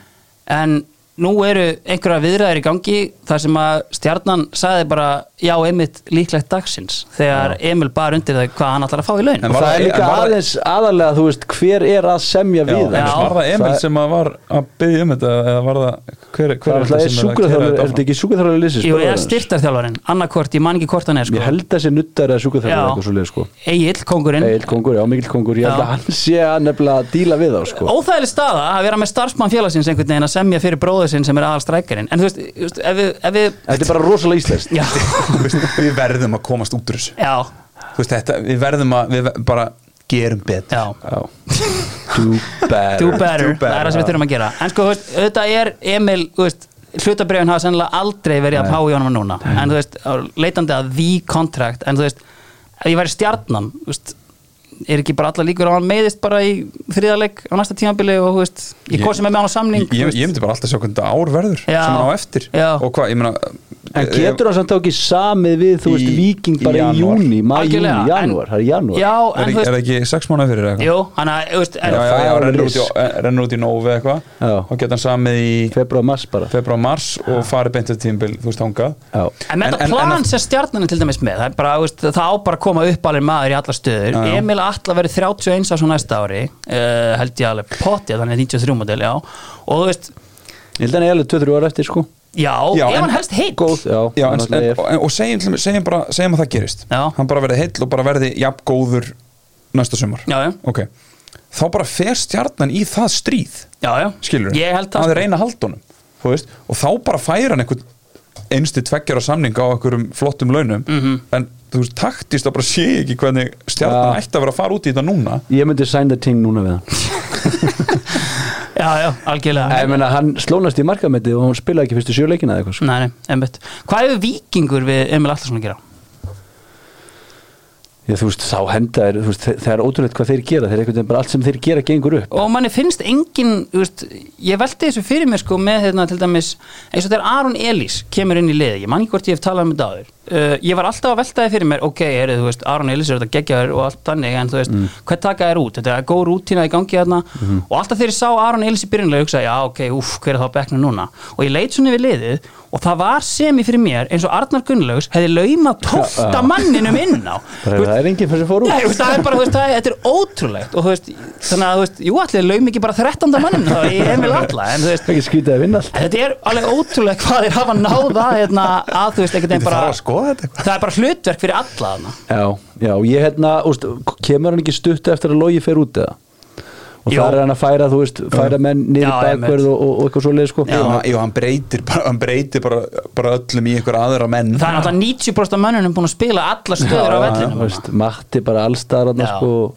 S1: en nú eru einhverja viðræðir í gangi þar sem að stjarnan sagði bara já, Emil líklegt dagsins þegar Emil bar undir það hvað hann ætlar að fá í laun
S3: En
S2: Og
S3: var
S2: það
S3: það-
S2: er líka
S3: en var það-
S2: aðeins aðalega, þú veist, hver er að semja
S3: Já,
S2: við sko?
S3: en
S1: Já.
S3: var það Emil sem að var að byggja um þetta eða var það, hver, hver
S2: Það er alltaf
S3: sem að
S2: sjúkraþjálfur,
S3: keyra
S2: er
S3: þetta
S2: þetta ekki sjúkraþjálfur liðsins?
S1: Jú, eða
S2: bróðir hans?
S1: styrtarþjálfarinn, annarkvort, ég man ekki hvort hann er sko.
S2: Ég held þessi nuttar eða sjúkraþjálfur
S1: Já.
S2: eitthvað svo sko
S1: Egil, kongurinn
S2: Egil Kongur, já, Mikil Kongur, ég
S1: Já.
S2: held að hann sé að nefnilega að díla við þá sko
S1: Óþægileg staða að vera með starfsmann félagsins einhvern veginn að semja fyrir bróður sinn sem er aðal strækjarinn En þú veist, þú veist, ef við, ef við
S2: Þetta er bara rosalega íslenskt
S1: Já,
S3: Þú veist, Við verðum að komast út úr þessu
S1: já,
S3: Þú veist, þetta, Við verðum að, við ver- bara gerum betur
S1: já
S2: Do
S1: Do
S2: better
S1: better,
S3: Do better,
S1: það er það sem við þurfum að gera En sko, þú veist, auðvitað er Emil, þú veist hlutabrefin hafa sennilega aldrei verið að
S2: Nei.
S1: pá í honum en núna en þú veist, á leitandi að því kontrakt en þú veist, ef ég væri stjarnan þú veist, er ekki bara alla líkur að hann meiðist bara í þriðaleg á næsta tímabili og þú veist, ég kosi með mig á hann á samning
S3: ég, ég, ég myndi bara alltaf sjá hvernig þetta ár verður
S1: Já.
S3: sem hann á eftir
S1: Já.
S3: og hvað, ég meina eh,
S2: En getur hann samt þá ekki samið við, þú veist,
S3: Í-
S2: viking
S3: í
S2: bara í
S3: janúar.
S2: júni, maður, júni,
S1: Algjörlega, en-
S2: janúar, það er janúar
S1: já,
S3: er,
S1: en þú
S3: ekki- er
S1: veist,
S3: það ekki sex mánuð fyrir eða eitthvað?
S1: jú, hann að þú veist, en,
S3: já, já, já,
S2: það er
S3: rennur út, í, eh,
S2: risk.
S3: rennur út í nógu eða
S2: Já.
S3: eitthvað og geta hann samið í
S2: Februar, mars bara
S3: februar mars og farið beintið tímbil, þú veist, hangað
S2: Já,
S1: En með
S3: En-
S1: þetta
S3: en-
S1: plan
S3: en að-
S1: sem stjarnan er til dæmis með, það, er bara, þú veist, það á bara að koma upp alveg maður í alla stöður
S3: Já, já.
S1: Emil Atla verið 31 á svo næsta ári uh, held ég alveg potið, þannig að 93 model, já og þú veist,
S2: ég held að hann er alveg 2-3 ára eftir, sko
S1: já,
S3: Já,
S1: ef
S3: en-
S1: hann helst heill
S2: Góð, já,
S3: Já, en,
S2: náttúrulega
S3: en,
S2: EF.
S3: og, og segjum, til dæmis- segjum, bara, segjum að það gerist
S1: Já.
S3: hann bara verði heill og bara verði jafn góður næsta sumar
S1: Já, já.
S3: Ok. þá bara fer stjarnan í það stríð
S1: Já, já,
S3: skilur
S1: Ég held það
S3: að
S1: sko.
S3: þeir reyna að halda honum þú veist, og þá bara færa hann einhvern einstu tveggjara samning á einhverjum flottum launum
S1: Mhm.
S3: -hmm. en þú veist, taktist þá bara sé ég ekki hvernig stjarnan
S2: Já.
S3: ætti að vera að fara út í þetta núna
S2: Ég myndi sign the ting núna við hann
S1: Já, já, algjörlega
S2: Ég meina, hann slónast í markametti og hann spilaði ekki fyrstu sjöleikina eða eitthvað, sko
S1: Nei, nei, einmitt Hvað hefur vikingur við Emil Atlason að gera?
S2: Já, þú veist, þá henda er, þú veist, þe- það er ótrúlegt hvað þeir gera Þeir er einhvern veginn bara allt sem þeir gera gengur upp
S1: Og manni finnst engin, þú veist, ég velti þessu fyrir mér sko með hérna til dæmis eins og þegar Aron Elís kemur inn í liði, ég man ekki hvort ég hef talað um þetta áður. Uh, ég var alltaf að velta þið fyrir mér, ok, heyrðu, þú veist, Aron Elís er þetta geggjaður og allt þannig, en þú veist,
S2: Mm.
S1: hvað taka þér út? Þetta er góð rútína í gangi þarna
S2: Mhm.
S1: og alltaf þegar ég sá Aron Elís í byrjunlega, ég hugsaði, já, ok, úff, hver er það á bekknu núna? Og ég leit svona við liðið og það var semi fyrir mér eins og Arnar Gunnlaugs hefði laumað tófta manninum inn á.
S2: Bara, Það er enginn fyrir sem fór út
S1: Nei, þú veist, það er bara, þú veist, það er, þetta er ótrúlegt og þú veist, þannig að, þú veist, jú, allir laum ekki bara 13. mannum þá í Emil Alla en þú veist,
S2: Ekki skrítið að vinna allt
S1: þetta er alveg ótrúlegt hvað þeir hafa náða hérna, að þú veist, ekkert einn bara
S3: skoða þetta sko-
S1: það er bara hlutverk fyrir alla þarna
S2: Já, já, ég hérna, úst, kemur hann ekki stutt eftir að logi fer út eða? Og
S1: Jú.
S2: það er hann að færa, þú veist, færa menn niður
S1: Já,
S2: í bakverð
S1: einmitt.
S2: og, og, og eitthvað svoleið, sko.
S3: Jú, hann- jú, hann breytir, bara, hann breytir bara, bara öllum í einhver aðra menn
S1: það er náttúrulega 90% af mönnunum búin að spila alla stöður á
S2: Þú
S1: vellinu
S2: veist, Matti bara allstaðar hann,
S1: Já.
S2: sko,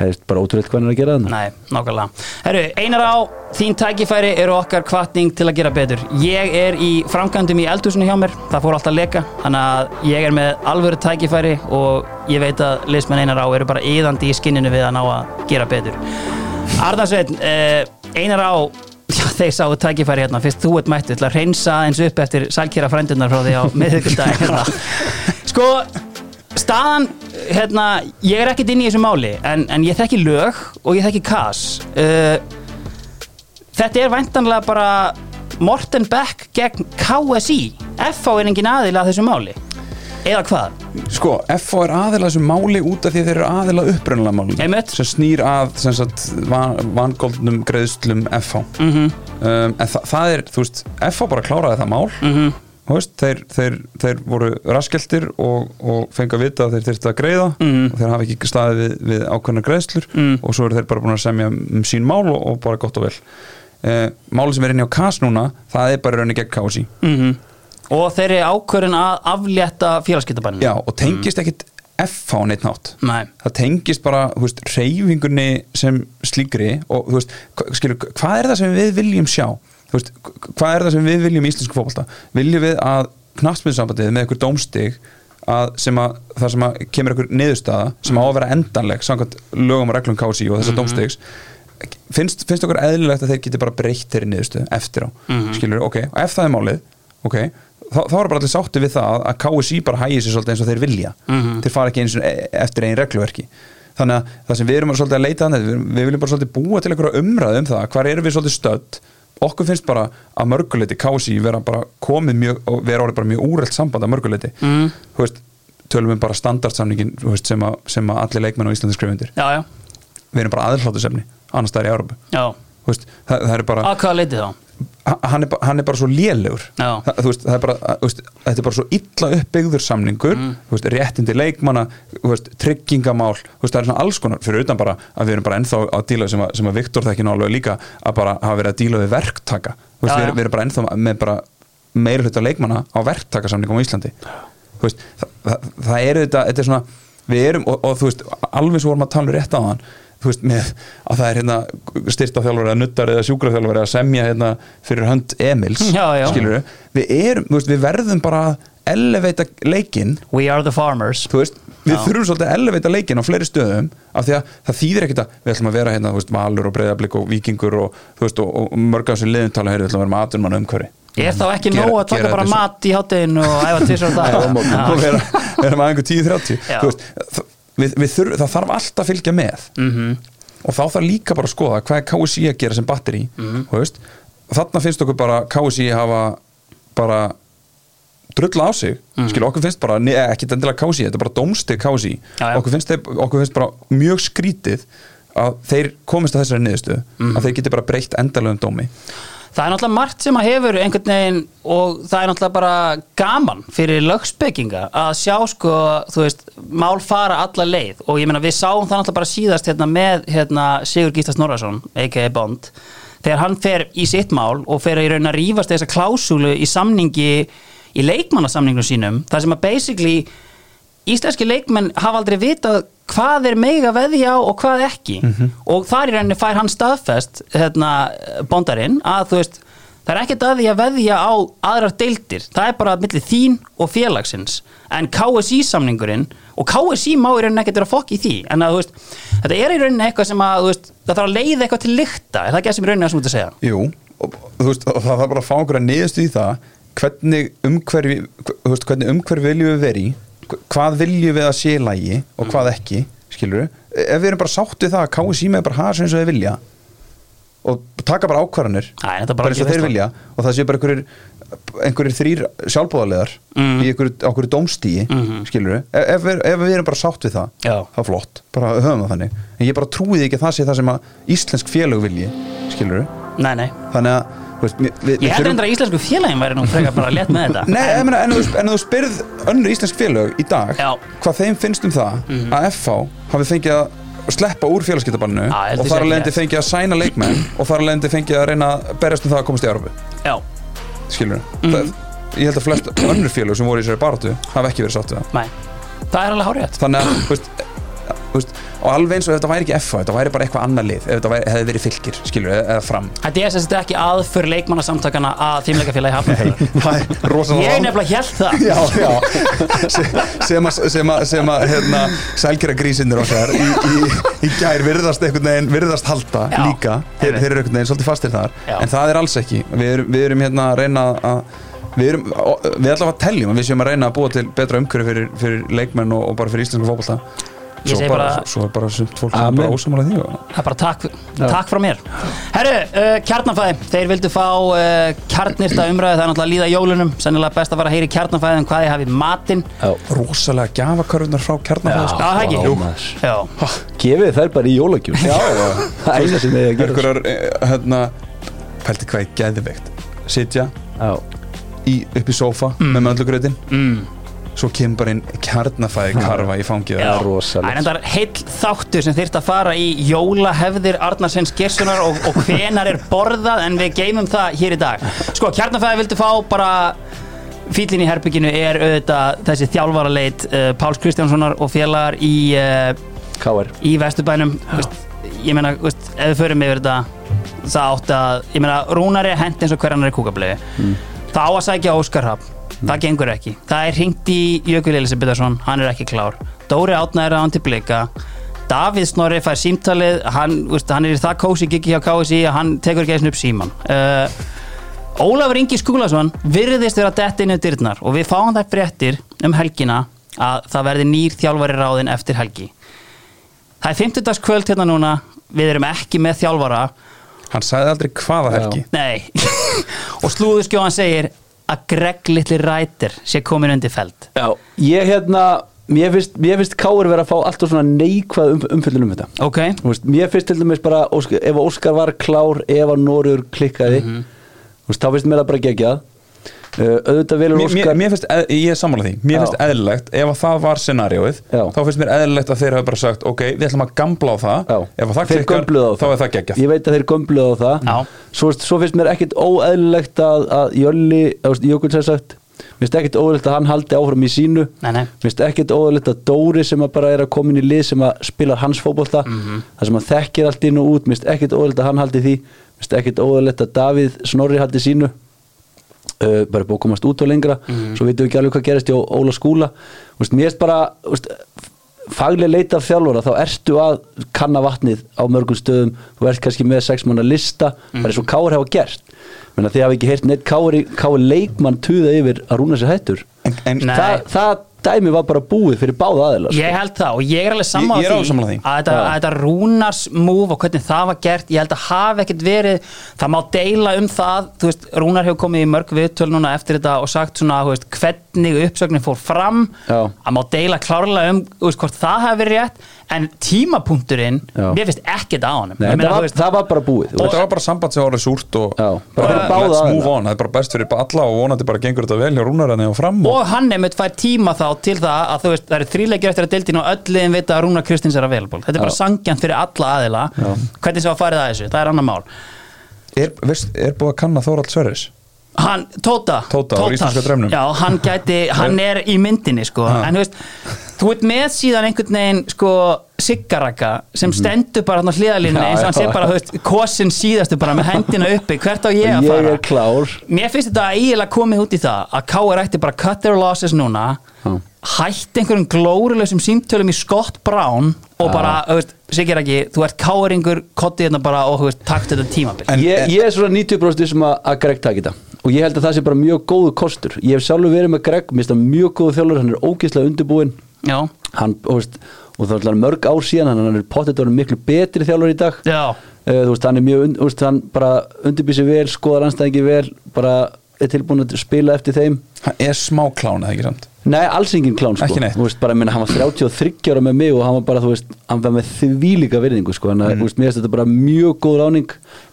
S2: hefðist bara ótrúleitt hvað hann er að gera hann.
S1: Nei, nákvæmlega. Herru, einar á, þín tækifæri eru okkar kvartning til að gera betur. Ég er í framkvæmdum í eldhúsinu hjá mér, það fór alltaf að leka, þannig að ég er með alvöru tækifæri og ég veit að liðsmenn einar á eru bara yðandi í skinninu við að ná að gera betur. Arðarsveitn, eh, einar á, já, þeir sáu tækifæri hérna, fyrst þú ert mættu til að reynsa eins upp eftir sælkjara frændunar frá því á miðugundaginn hérna. Sko, staðan, hérna, ég er ekkert inn í þessu máli en, en ég þekki lög og ég þekki kas uh, Þetta er væntanlega bara Morten Beck gegn KSI FH er engin aðila að þessu máli eða hvað?
S3: Sko, FO er aðila þessu máli út af því að þeir eru aðila upprunalega máli
S1: Einmitt.
S3: sem snýr að sem sagt, van, vangoldnum greiðslum FO -hmm. um, en þa það er, þú veist, FO bara kláraði það mál mm -hmm. veist, þeir, þeir, þeir voru raskeltir og, og fengu að vita að þeir þyrftu að greiða og þeir hafa ekki staðið við, við ákveðna greiðslur mm. og svo eru þeir bara búin að semja um sín mál og, og bara gott og vel uh, Máli sem er inn hjá KAS núna það er bara raunni gegn KSI
S1: Og þeir eru ákvörðin að aflétta félagskiptabanninu
S3: Já, og tengist ekkit FH neitt nátt
S1: Nei.
S3: það tengist bara, þú veist, reyfingunni sem slíkri og þú veist, hva- skilur, hvað er það sem við viljum sjá? Þú veist, hvað er það sem við viljum í íslensku fótbolta? Viljum við að knattmyndsambandið með einhver dómstig að sem að, það sem að kemur einhver niðurstaða sem á að vera endanleg samkvæmt lögum og reglum KSI og þessar dómstigs finnst, finnst okkur eðlilegt að þeir geti bara breytt þeirri niðurstöðu eftir á skilur, ok, og ef það er málið ok, þá, þá er bara allir sátti við það að KSI bara hægir sér svolítið eins og þeir vilja þeir fara ekki eins og eftir einn regluverki þannig að það sem við erum svolítið að leita þannig, við, erum- við viljum bara svolítið búa til einhverja umræðu um það, hvar erum við svolítið stödd okkur finnst bara að mörguleiti KSI vera bara komið mjög og vera orðið bara mjög úrælt samband að mörguleiti mm. þú veist, tölum við bara standardsamningin þú veist, sem, að, sem að allir leikmenn á Íslandi skrifundir
S1: Já, já,
S3: við erum bara aðhlátusefni annars það er í Európu
S1: já
S3: veist, það, það er bara,
S1: Að hvað leiti þá?
S3: h- hann, er, bara- hann er bara svo lélegur
S1: Já.
S3: það, þú veist, það er bara, að- þú veist, þetta er bara svo illa uppbyggður samningur þú veist, réttindi leikmanna, þú veist, tryggingamál þú veist, það er svona alls konar, fyrir utan bara að við erum bara ennþá að díla sem að, sem að Viktor þekki nálega líka að bara hafa verið að díla við verktaka þú veist,
S1: Já,
S3: við,
S1: já.
S3: erum- við erum bara ennþá með bara meira hluta leikmanna á verktakasamningum á Íslandi þú veist, það, það, það er þetta, þetta er svona við erum, og, og þú veist, alveg svo vorum að tala um rétt á þann þú veist, með að það er hérna styrta þjálfari að nuttar eða sjúkra þjálfari að semja hérna fyrir hönd Emils
S1: Já, já.
S3: skilurðu. við erum, þú veist, við verðum bara að eleveita leikinn
S1: We are the farmers
S3: þú veist, við
S1: Já.
S3: þurfum svolítið að eleveita leikinn á fleiri stöðum af því að það þýðir ekkert að við ætlum að vera hérna, þú veist, Valur og Breiðablík og Víkingur og, þú veist, og, og mörg af þessum liðum tala heyrðu, við ætlum að vera með atunmann umhverfi
S1: Er þá ekki
S3: Gera-
S1: nóg að taka
S3: gera
S1: bara
S3: þetta svo-
S1: mat í hátteginu og æfa tvisar
S3: Nei, á
S1: dag
S3: morgun. og vera, vera með aðeins 10-30
S1: Já.
S3: Þú veist, þ- við, við þurf, það þarf alltaf að fylgja með
S1: Mhm.
S3: -hmm. og þá þarf líka bara að skoða hvað er KSI að gera sem batteri
S1: Mhm.
S3: mm -hmm. þarna finnst okkur bara KSI hafa bara drulla á sig, mm.
S1: Mhm.
S3: okkur finnst bara ne, ekki endilega KSI, þetta er bara dómstig KSI
S1: Já, já.
S3: okkur, finnst þeir, okkur finnst bara mjög skrítið að þeir komist að þessari niðurstöðu
S1: Mhm.
S3: að þeir geti bara breytt endalegum dómi
S1: Það er náttúrulega margt sem að hefur einhvern veginn og það er náttúrulega bara gaman fyrir lögspekinga að sjá sko, þú veist, mál fara alla leið og ég meina við sáum það náttúrulega bara síðast hérna með hérna Sigur Gístas Norrason, a.k.a. Bond þegar hann fer í sitt mál og fer í raun að rífast þessa klásúlu í samningi, í leikmannasamningnum sínum, það sem að basically íslenski leikmenn hafa aldrei vitað hvað er mega veðja á og hvað ekki og þar í rauninni fær hann staðfest hérna, bondarinn að þú veist það er ekkert að því að veðja á aðrar deildir, það er bara millir þín og félagsins, en KSI samningurinn og KSI má í rauninni ekkert vera fokk í því, en að þú veist þetta er í rauninni eitthvað sem að, þú veist það þarf að leiða eitthvað til lykta, er það ekki það sem í rauninni það sem þú ert að segja?
S3: Jú, og, þú veist, og það þarf bara að fá einhverja niðurstu í það hvernig umhverfi, þú veist, hvernig umhverfi viljum við veri hvað viljum við að sé í lagi og
S1: Mm.
S3: hvað ekki, skilur ef við erum bara sátt við það að káu síma bara hafa sem eins og þeir vilja og taka bara ákvarðanir
S1: Æ, þetta er bara
S3: bara eins og
S1: ekki
S3: þeir
S1: veistla.
S3: vilja og það sé bara einhverjir einhverjir þrýr sjálfbóðarlegar
S1: Mm.
S3: í einhverju, á einhverju dómstíi mm
S1: Mhm.
S3: skilur við, ef, við- ef við erum bara sátt við það
S1: Já.
S3: það er flott, bara höfum það þannig en ég bara trúið ekki að það sé það sem að íslensk félög vilji, skilur við
S1: Nei, nei,
S3: þannig að þú veist, við, við,
S1: ég
S3: við
S1: held reyndar að íslensku félagin væri nú frekar bara létt með þetta
S3: Nei, en, meina, en, þú, en þú spyrð önnur íslensk félög í dag
S1: Já. Mhm.
S3: hvað þeim finnst um það að FH hafi fengið að sleppa úr félagskiptabannu
S1: Já, ég held ég
S3: og
S1: sé ekki
S3: þar að leiðandi
S1: rétt.
S3: fengið að sæna leikmenn og þar að leiðandi fengið að reyna að berjast um það að komast í Európu
S1: Já,
S3: skilur
S1: Mhm.
S3: það, ég held að flest önnur félög sem voru í þessari baratu hafi ekki verið sátt við það
S1: nei, það er alveg hárétt
S3: þannig að þú veist, þú veist, og alveg eins og ef þetta væri ekki FH þetta væri bara eitthvað annað lið ef þetta væri, hefði verið fylgir skilur eða, eða fram
S1: Þetta er sem sagt ekki aðför leikmannasamtakana að þýmleikafélagi hafnafjörður.
S3: það er rosalega
S1: Ég nefnilega held það.
S3: já, já Se- sem að, sem að, sem að hérna, sælkjara grísinnir okkar í, í, í gær virðast einhvern veginn virðast halda
S1: Já.
S3: líka þeir, þeir eru einhvern veginn svolítið fastir þar
S1: Já.
S3: en það er alls ekki við erum, við erum hérna að reyna að Við erum, og- við allavega teljum að við séum að reyna að búa til betra umhverju fyrir, fyrir leikmenn og, og bara fyrir íslensku fótbolta
S1: Ég
S3: Svo
S1: segi
S3: bara,
S1: bara-
S3: svo er bara sumt fólk sem er
S2: Amen.
S3: bara ósamála því og...
S1: Það er bara takk, takk frá mér. Herru, uh, kjarnanfæði. Þeir vildu fá uh, kjarnirta umræði. Það er náttúrulega að líða jólunum. Sennilega best að fara að heyri kjarnanfæði um hvað ég hafið matinn.
S2: Já.
S3: Rosalega gjafakörfunar frá
S1: Já,
S3: kjarnafæðis
S1: það er ekki.
S2: Vá, maður.
S1: Já.
S2: Gefið þær bara í jólagjum
S3: Já, já.
S2: Það er eina sem þið er að gera
S3: einhverjar, eh, hérna pælti hvað ég geðveikt sitja
S2: Já.
S3: í, upp í sófa með möndlugröðin
S1: Mm.
S3: svo kemur bara inn kjarnafæði karfa í fangið
S1: Já,
S3: á þér.
S2: rosalegt.
S1: Það er endar heill þáttur sem þyrft að fara í jólahefðir Arnarsens Gerssonar og, og hvenar er borðað en við geymum það hér í dag Sko, kjarnafæði vildu fá bara fílinn í herbygginu er auðvitað þessi þjálfaraleit uh, Páls Kristjánssonar og félagar í, uh,
S2: K.R.
S1: í Vesturbænum veist, Ég meina, veist, ef við förum yfir þetta það átt að, ég meina, Rúnari er hent eins og hver annar er kúkablegu Það á að sækja Óskar Hafn Það gengur ekki. Það er hringt í Jökul Elisabetharsson, hann er ekki klár. Dóri Átna er án til blika. Davíð Snorri fær símtalið, hann, úst, hann er í það kósi gigi hjá KSI að hann tekur ekki einu sinni upp síman. Uh, Ólafur Ingi Skúlason virðist vera dett inn um dyrnar og við fáum þær fréttir um helgina að það verði nýr þjálfari ráðin eftir helgi. Það er 50 kvöld hérna núna, við erum ekki með þjálfara.
S3: hann sagði aldrei hvaða helgi
S1: Nei Og slúðurskjóðan segir að Greg litli rætir sé komin undir feld
S2: Já. Ég hérna Mér finnst, mér finnst K.R. vera að fá alltaf svona neikvað um, umfyllun um þetta
S1: Ok
S2: Þú veist, Mér finnst til dæmis bara Óskar, ef Óskar var klár, ef að Nóriður klikkaði
S1: Mhm.
S2: þú veist, þá finnst mér það bara geggjað uh, auðvitað velur
S3: Mér, mér,
S2: Óskar
S3: mér finnst, eð- ég er sammála því mér
S2: Já.
S3: finnst eðlilegt, ef að það var scenarióið
S2: Já.
S3: þá finnst mér eðlilegt að þeir hafa bara sagt ok, við ætlum að gambla á það
S2: Já.
S3: ef að það
S2: Þeir
S3: klikkar,
S2: gömbluðu á
S3: þá er það geggjað
S2: Ég veit að þeir gömbluðu á það
S1: Já.
S2: svo, svo finnst mér ekkit óeðlilegt að, að Jölli, Jökull sér sagt Mér finnst ekkert óðurlegt að hann haldi áfram í sínu Mér
S1: Nei, nei,
S2: finnst ekkert óðurlegt að Dóri sem að bara er að koma inn í lið sem að spilar hans fótbolta
S1: Mhm.
S2: þar sem að þekkir allt inn og út Mér finnst ekkert óðurlegt að hann haldi því Mér finnst ekkert óðurlegt að Davíð Snorri haldi sínu uh, bara búið að komast út og lengra
S1: Mhm.
S2: svo veitum við ekki alveg hvað gerist hjá Óla Skúla Vist, mér erst bara vist, fagleg leita af þjálfara þá ertu að kanna vatnið á mörgum stöðum þú ert kannski með sex manna lista bara eins og
S1: Mhm.
S2: Káur hafa gert Menna, þið hafa ekki heyrt neitt Káur, í- Káur leikmann tuða yfir að rúna sér hættur
S3: En, en
S1: Nei.
S2: Þa, það dæmi var bara búið fyrir báða sko. aðeila
S1: Ég held það og ég er alveg
S3: Ég- ég
S1: sammála
S3: er alveg sammála því.
S1: að þetta,
S2: Já.
S1: að þetta Rúnars move og hvernig það var gert ég held að hafi ekkert verið það má deila um það þú veist, Rúnar hefur komið í mörg viðtöl núna eftir þetta og sagt svona þú veist, hvernig uppsögnin fór fram
S2: Já.
S1: að má deila klárlega um þú veist, hvort það hafi verið rétt en tímapunkturinn,
S2: Já.
S1: mér finnst ekkert á honum
S2: Nei,
S1: Ég
S2: það,
S1: meina, þú
S2: var, það var bara búið þú veist.
S3: Þetta var bara samband sem var orðið súrt og
S2: Já, bara
S3: bara
S2: fyrir báða
S3: let's
S2: aðila.
S3: move on, það er bara best fyrir alla og vonandi bara gengur þetta vel hjá rúnarann og fram og,
S1: og hann einmitt fær tíma þá til það að þú veist, það eru þríleikir eftir að deildin og öll liðin vita að Rúnar Kristins er available þetta er bara
S2: Já.
S1: sangjant fyrir alla aðila hvernig sem að farið að þessu, það er annar mál
S3: er, veist, er búið að kanna Þórald Sverris
S1: hann, Tóta,
S3: Tóta,
S1: Tótas.
S3: úr íslenska draumnum.
S1: já, hann gæti, hann er í myndinni sko,
S3: Ha.
S1: en þú veist þú ert með síðan einhvern veginn sko siggaraka sem stendur bara hann á hliðalínu
S2: Já,
S1: eins og hann
S2: já.
S1: sé bara, þú veist, kosin síðastu bara með hendina uppi, hvert á ég að
S2: ég
S1: fara
S2: er klár
S1: mér finnst þetta eiginlega komið út í það að K.R. ætti bara að cut their losses núna
S2: Já.
S1: hætti einhverjum glórulegsum símtölum í Scott Brown og
S2: Já.
S1: bara, þú veist, Sigur ekki, þú ert K.R.ingur kottið hérna bara og þú veist, takt þetta tímabil
S3: En-
S2: ég, ég er svona 90% sem að, að Greg taki þetta og ég held að það sé bara mjög góðu kostur ég hef sjálfur verið með Greg, mér finnst það mjög góðu þjálfur hann er ógeðslega undirbúinn
S1: já,
S2: hann, þú veist, og það er alltaf mörg ár síðan hann hann er pottet orðin miklu betri þjálfur í dag
S1: já,
S2: Eh, þú veist, hann er mjög und, þú veist, hann bara undirbýr sig vel, skoðar anstæðingi vel bara er tilbúin að spila eftir þeim
S3: hann er smá klán eða ekki samt
S2: Nei, alls engin klán sko
S3: Ekki neitt.
S2: Þú veist, bara, minna, Hann var 33 ára með mig og hann var bara, þú veist, hann var með þvílíka virðingu sko, en
S3: Mhm.
S2: mm. veist, mér finnst þetta bara mjög góð láning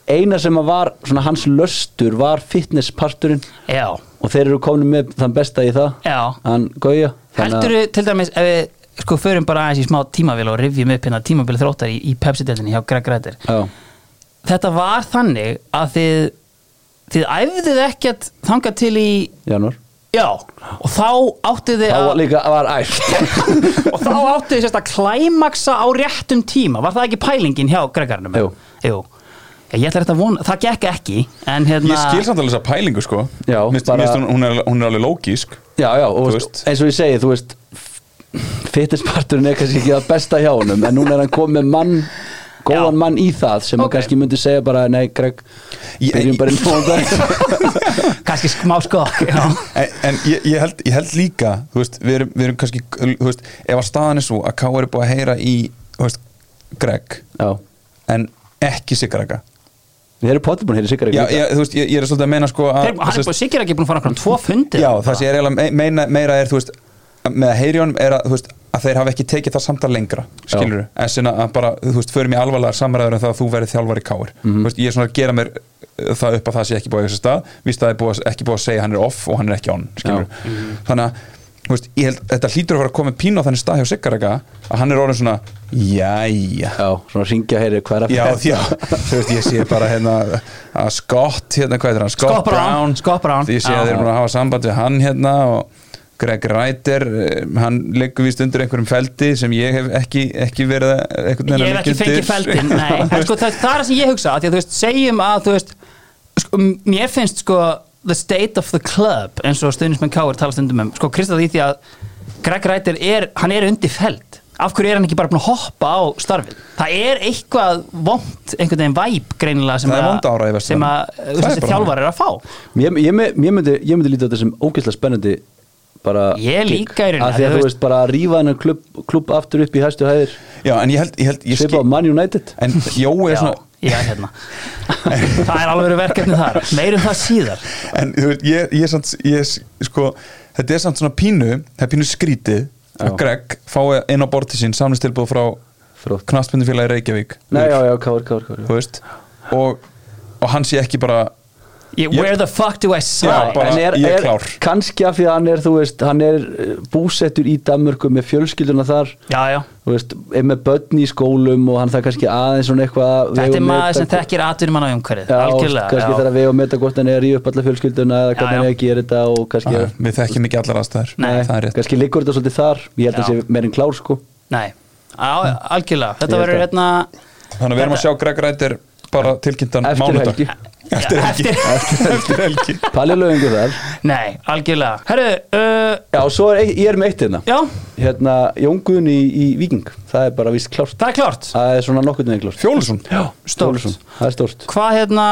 S2: Eina sem að var, svona hans löstur var fitnessparturinn
S1: já
S2: og þeir eru komin með þann besta í það
S1: Já.
S2: Hann Gauja þannig að-
S1: Heldur til dæmis ef við sko förum bara aðeins í smá tímavél og rifjum upp hérna tímavél þróttar í, í Pepsi-deltinni hjá Greg Rættir
S2: Já,
S1: Þetta var þannig að þið þið æfðuð ekkert þangað til í
S2: janúar
S1: já og þá áttuð þið
S2: Þá var
S1: að
S2: líka, var æft
S1: og þá áttuð þið sérst að klæmaksa á réttum tíma var það ekki pælingin hjá Gregarnum?
S2: Jú.
S1: Jú. Já, Ég ætla þetta að vona, það gekk ekki en hérna
S3: Ég skil samt alveg þessa pælingu sko
S2: Já,
S3: Mist,
S2: bara-
S3: bara... mist, hún, hún, er, hún er alveg lógísk
S2: Já, já, og
S3: Þú
S2: veist,
S3: veist.
S2: eins og ég segi, þú veist fitnessparturinn er kannski ekki það besta hjá honum en núna er hann komið með mann góðan
S1: Já.
S2: mann í það sem
S1: Ok.
S2: hann kannski myndi segja bara nei Greg,
S3: Ég-
S2: byrjum bara inn á þetta
S1: kannski smá skokk já.
S3: En, en ég, ég, held, ég held líka þú veist, við, erum, við erum kannski þú veist, ef að staðan er svo að K.R. er búið að heyra í þú veist, Greg
S2: Já,
S3: en ekki Sigaraka
S2: við erum potið búin að heyra sikkar
S3: Já, ég, þú veist, ég, ég er svolítið að meina sko að,
S1: Þeir, hann er búin sikkert ekki búin að fara okkur um tvo fundi
S3: Já, það sem ég er eiginlega me- meina, meira er þú veist, að- með að heyri honum er að, þú veist, að þeir hafa ekki tekið það samtal lengra skilur við, en sinna að bara þú veist, förum í alvarlegar samræður en það að þú verið þjálfari káir mm veist, ég er svona að gera mér uh, það upp að það sé ekki búið að þessu stað víst að það er búið, að- ekki búið að segja hann er off og hann er ekki on skilur
S2: Já.
S3: þannig að þú veist, ég held, þetta hlýtur að vera að koma pín á þannig stað hjá Siggarega að hann er orðin svona jæja
S2: Já, svona ringja heyri hver að
S3: Já, já, þú veist, ég sé bara hérna að Scott, hérna, hvað er hann?
S1: Scott Brown, Scott Brown.
S3: Ég sé
S1: Já.
S3: að þeir eru búin að hafa samband við hann hérna og Greg Reiter, eh, hann liggur vist undir einhverjum feldi sem ég hef ekki, ekki verið að- einhvern
S1: ég
S3: veginn að
S1: hef ekki
S3: liggja
S1: fengið
S3: undir.
S1: feldin nei, en sko það, það er það sem ég hugsa af því að þú veist, segjum að þú veist sko, m- mér finnst sko the state of the club eins og stuðnismenn Káur tala stundum um, sko Kristall í því að Greg Reiter er, hann er undir feld af hverju er hann ekki bara búin að hoppa á starfið það er eitthvað vond einhvern veginn væp greinilega sem
S3: Það er
S1: að-
S3: vond ára í verslunum.
S1: sem að
S3: Það er
S1: þessi
S3: bara
S1: þjálfar er að fá
S2: Ég, ég, me- ég, myndi, ég myndi líta á þetta sem ógeðslega spennandi bara
S1: Ég
S2: gig.
S1: líka í rauninni,
S2: Af því
S1: þú
S2: að þú
S1: veist-
S2: veist bara að rífa hennar klubb, klubb aftur upp í hæstu hæðir
S3: Já, en ég held, ég held, ég
S2: svipa á
S3: skil
S2: Man United
S3: En Jói er
S1: já,
S3: svona
S1: já, hérna það er alveg verkefni þar, meirum það síðar
S3: En þú veist, ég, ég, samt, ég sko, þetta er samt svona pínu það er pínu skrítið að
S2: Já.
S3: Greg fái inn á borti sín samlistilbúð frá
S2: Þrótt.
S3: knattspindufélagi Reykjavík
S2: Nei, já, já, káur, káur, káur
S3: þú veist og, og hann sé ekki bara
S1: Ég, where the fuck do I
S3: Já,
S1: sign?
S3: bara-
S2: En
S3: ég er klár.
S2: kannski af því að hann er, þú veist, hann er eh, búsettur í Danmörku með fjölskylduna þar
S1: Já, já.
S2: þú veist, er með börn í skólum og hann það kannski aðeins svona eitthvað að
S1: Þetta
S2: vega
S1: er
S2: og
S1: maður sem
S2: meta-
S1: þekkir atvinnum hann á umhverfið.
S2: Já,
S1: Algjörlega.
S2: kannski
S1: já.
S2: þarf að vega og meta hvort hann er að ríða upp alla fjölskylduna eða
S1: Já,
S2: hvernig hann
S1: já.
S2: er að gera þetta og kannski,
S3: Æ, eh, Við þekkjum ekki allar aðstæður
S1: Nei.
S3: Það er rétt
S2: kannski liggur þetta svolítið þar ég held að
S1: Já.
S2: það sé meirinn klár sko
S1: Nei, á, algjörlega Þetta
S2: Ég held
S1: verður
S2: að-
S1: hérna
S3: Þannig að við erum að sjá Greg Rættir bara tilkynntan
S2: Eftir
S3: mánudag
S2: helgi.
S3: Eftir helgi Eftir helgi
S2: Palli lögingu þar
S1: Nei, algjörlega Herru, uh,
S2: Já, og svo er, eitt- ég er með eitt hérna
S1: já,
S2: Hérna, Jón Guðni í, í Víking Það er bara víst klárt
S1: það er klárt
S2: Það er svona nokkurn veginn klárt
S3: Fjólusson
S1: Stórt
S2: Ólafsson, Það er stórt
S1: Hvað hérna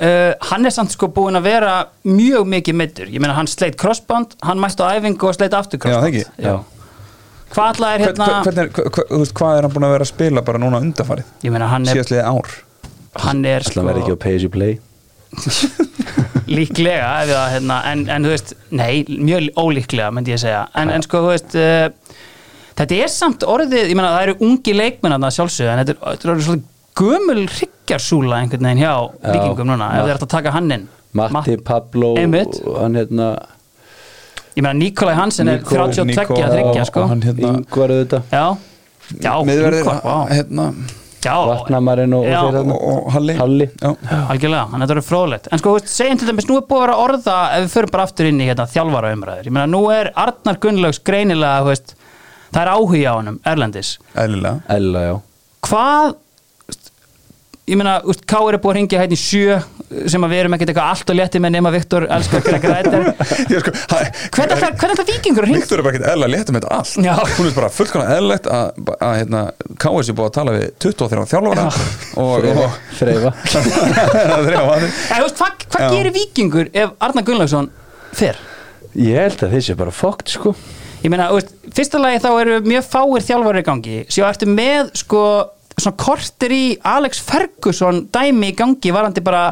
S1: uh, Hann er samt sko búinn að vera mjög mikið meiddur Ég meina hann sleitt crossband Hann mætti á æfingu og sleitt aftur
S3: Já, það
S1: crossband
S3: ekki
S2: Já,
S1: Hvað alltaf er
S3: Hvern-
S1: hérna
S3: hvern- Hvernig, er- hva- hva- þú veist, hvað er hann búin að vera að spila bara núna undanfarið?
S1: Ég meina hann er,
S3: Síðastliðið ár
S1: hann er
S2: ætla að vera ekki
S1: sko,
S2: á pay as you play
S1: Líklega ef það, hérna, en, en þú veist Nei, mjög ólíklega myndi ég segja En, en sko þú veist uh, Þetta er samt orðið, ég meina það eru ungi leikmenn að sjálfsögðu, en þetta er, þetta er orðið svolítið gömul hryggjarsúla einhvern veginn hjá vikingum núna, ef
S2: Matt-
S1: þeir ættu að taka hann inn
S2: Matti,
S1: Matt-
S2: Pablo
S1: Einmitt.
S2: og Hann hérna
S1: Ég meina Nikolai Hansen er
S2: Nico-
S1: 32
S3: Nico-
S1: að þryggja sko
S3: og hann hérna
S2: Yngvar auðvitað
S1: Já, já,
S3: miðverðir,
S1: Nikolai, vá.
S3: hérna,
S1: já
S2: Vatnamarinn og, og
S1: Já.
S2: þeir
S3: og,
S2: þarna.
S3: og Halli,
S2: Halli.
S3: Já.
S1: Algjörlega, þannig að þetta eru fróðlegt En sko, þú veist, segjum til dæmis, nú er búið að vera að orða ef við förum bara aftur inn í hérna, þjálfara umræður Ég meina, nú er Arnar Gunnlaugs greinilega, þú veist það er áhugi á honum, Erlendis
S3: Eðlilega
S2: Ella, já
S1: hvað ég meina, úst, Káir er búið að ringja hérna í sjö sem að við erum ekkert eitthvað allt og létti með nema Viktor elskar Greg Rættar
S3: Ég sko, hæ,
S1: hvernig ætlar- hvernig ætlar vikingur að ringa?
S3: Viktor er bara ekkert eðlilega létt um þetta allt
S1: Já.
S3: Hún er bara fullkona eðlilegt að, að hérna, KS er búið að tala við 23 þjálfara og, og
S2: Freifa
S3: það er að
S1: Eða, úst, hvað hva
S3: Já.
S1: gerir vikingur ef Arnar Gunnlaugsson fer?
S2: Ég held að þeir sé bara fokkt sko
S1: Ég meina, úst, fyrsta lagi þá eru mjög fáir þjálfari í gangi séu ertu með sko svona kortir í Alex Ferguson dæmi í gangi varandi bara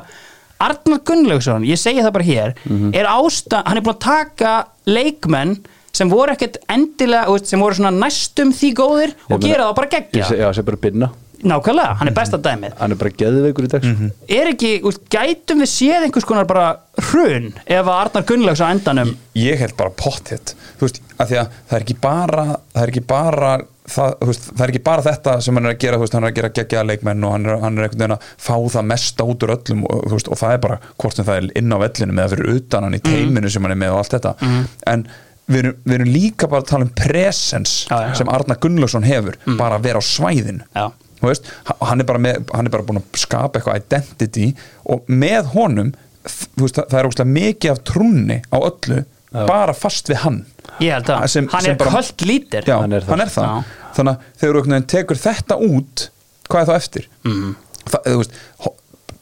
S1: Arnar Gunnlaugsson, ég segi það bara hér
S2: Mhm.
S1: er ástæð, hann er búin að taka leikmenn sem voru ekkert endilega, þú veist, sem voru svona næstum því góðir og
S2: Ég meina-
S1: gera það bara
S2: Ég Mhm.
S1: geggja
S2: seg- Já, sem bara binna
S1: nákvæmlega, hann er besta dæmið
S2: Hann er bara geðveikur í dag sko.
S1: er ekki, úst, gætum við séð einhvers konar bara hrun ef að Arnar Gunnlaugsson á endanum
S3: ég held bara potthett þú veist, af því að það er ekki bara það er ekki bara það, þú veist, það er ekki bara þetta sem hann er að gera þú veist, hann er að gera geggjaða leikmenn og hann er, hann er einhvern veginn að fá það mesta út úr öllum og, þú veist, og það er bara hvort sem það er inn á vellinum eða fyrir utan hann í
S1: Mm.
S3: teiminu sem hann er með og allt þetta en við erum, við erum líka bara að tala um presens
S1: Já, já, já.
S3: sem Arna Gunnlaugsson hefur bara að vera á svæðin
S1: Mm. Já.
S3: Þú veist, h- hann, er bara með, hann er bara búin að skapa eitthvað identity og með honum þ- þú veist, það það er ógstlega mikið af trúnni á öllu bara fast við hann
S1: ég held að,
S3: Sem-
S1: hann
S3: sem
S1: er
S3: bara-
S1: kvöld lítir
S3: Já,
S2: Hann
S3: hann
S2: er
S3: er
S2: það.
S3: það,
S1: Já.
S3: þannig að þegar þú einhvern veginn tekur þetta út hvað er þá eftir
S1: Mhm.
S3: mm. það, þú veist, ho-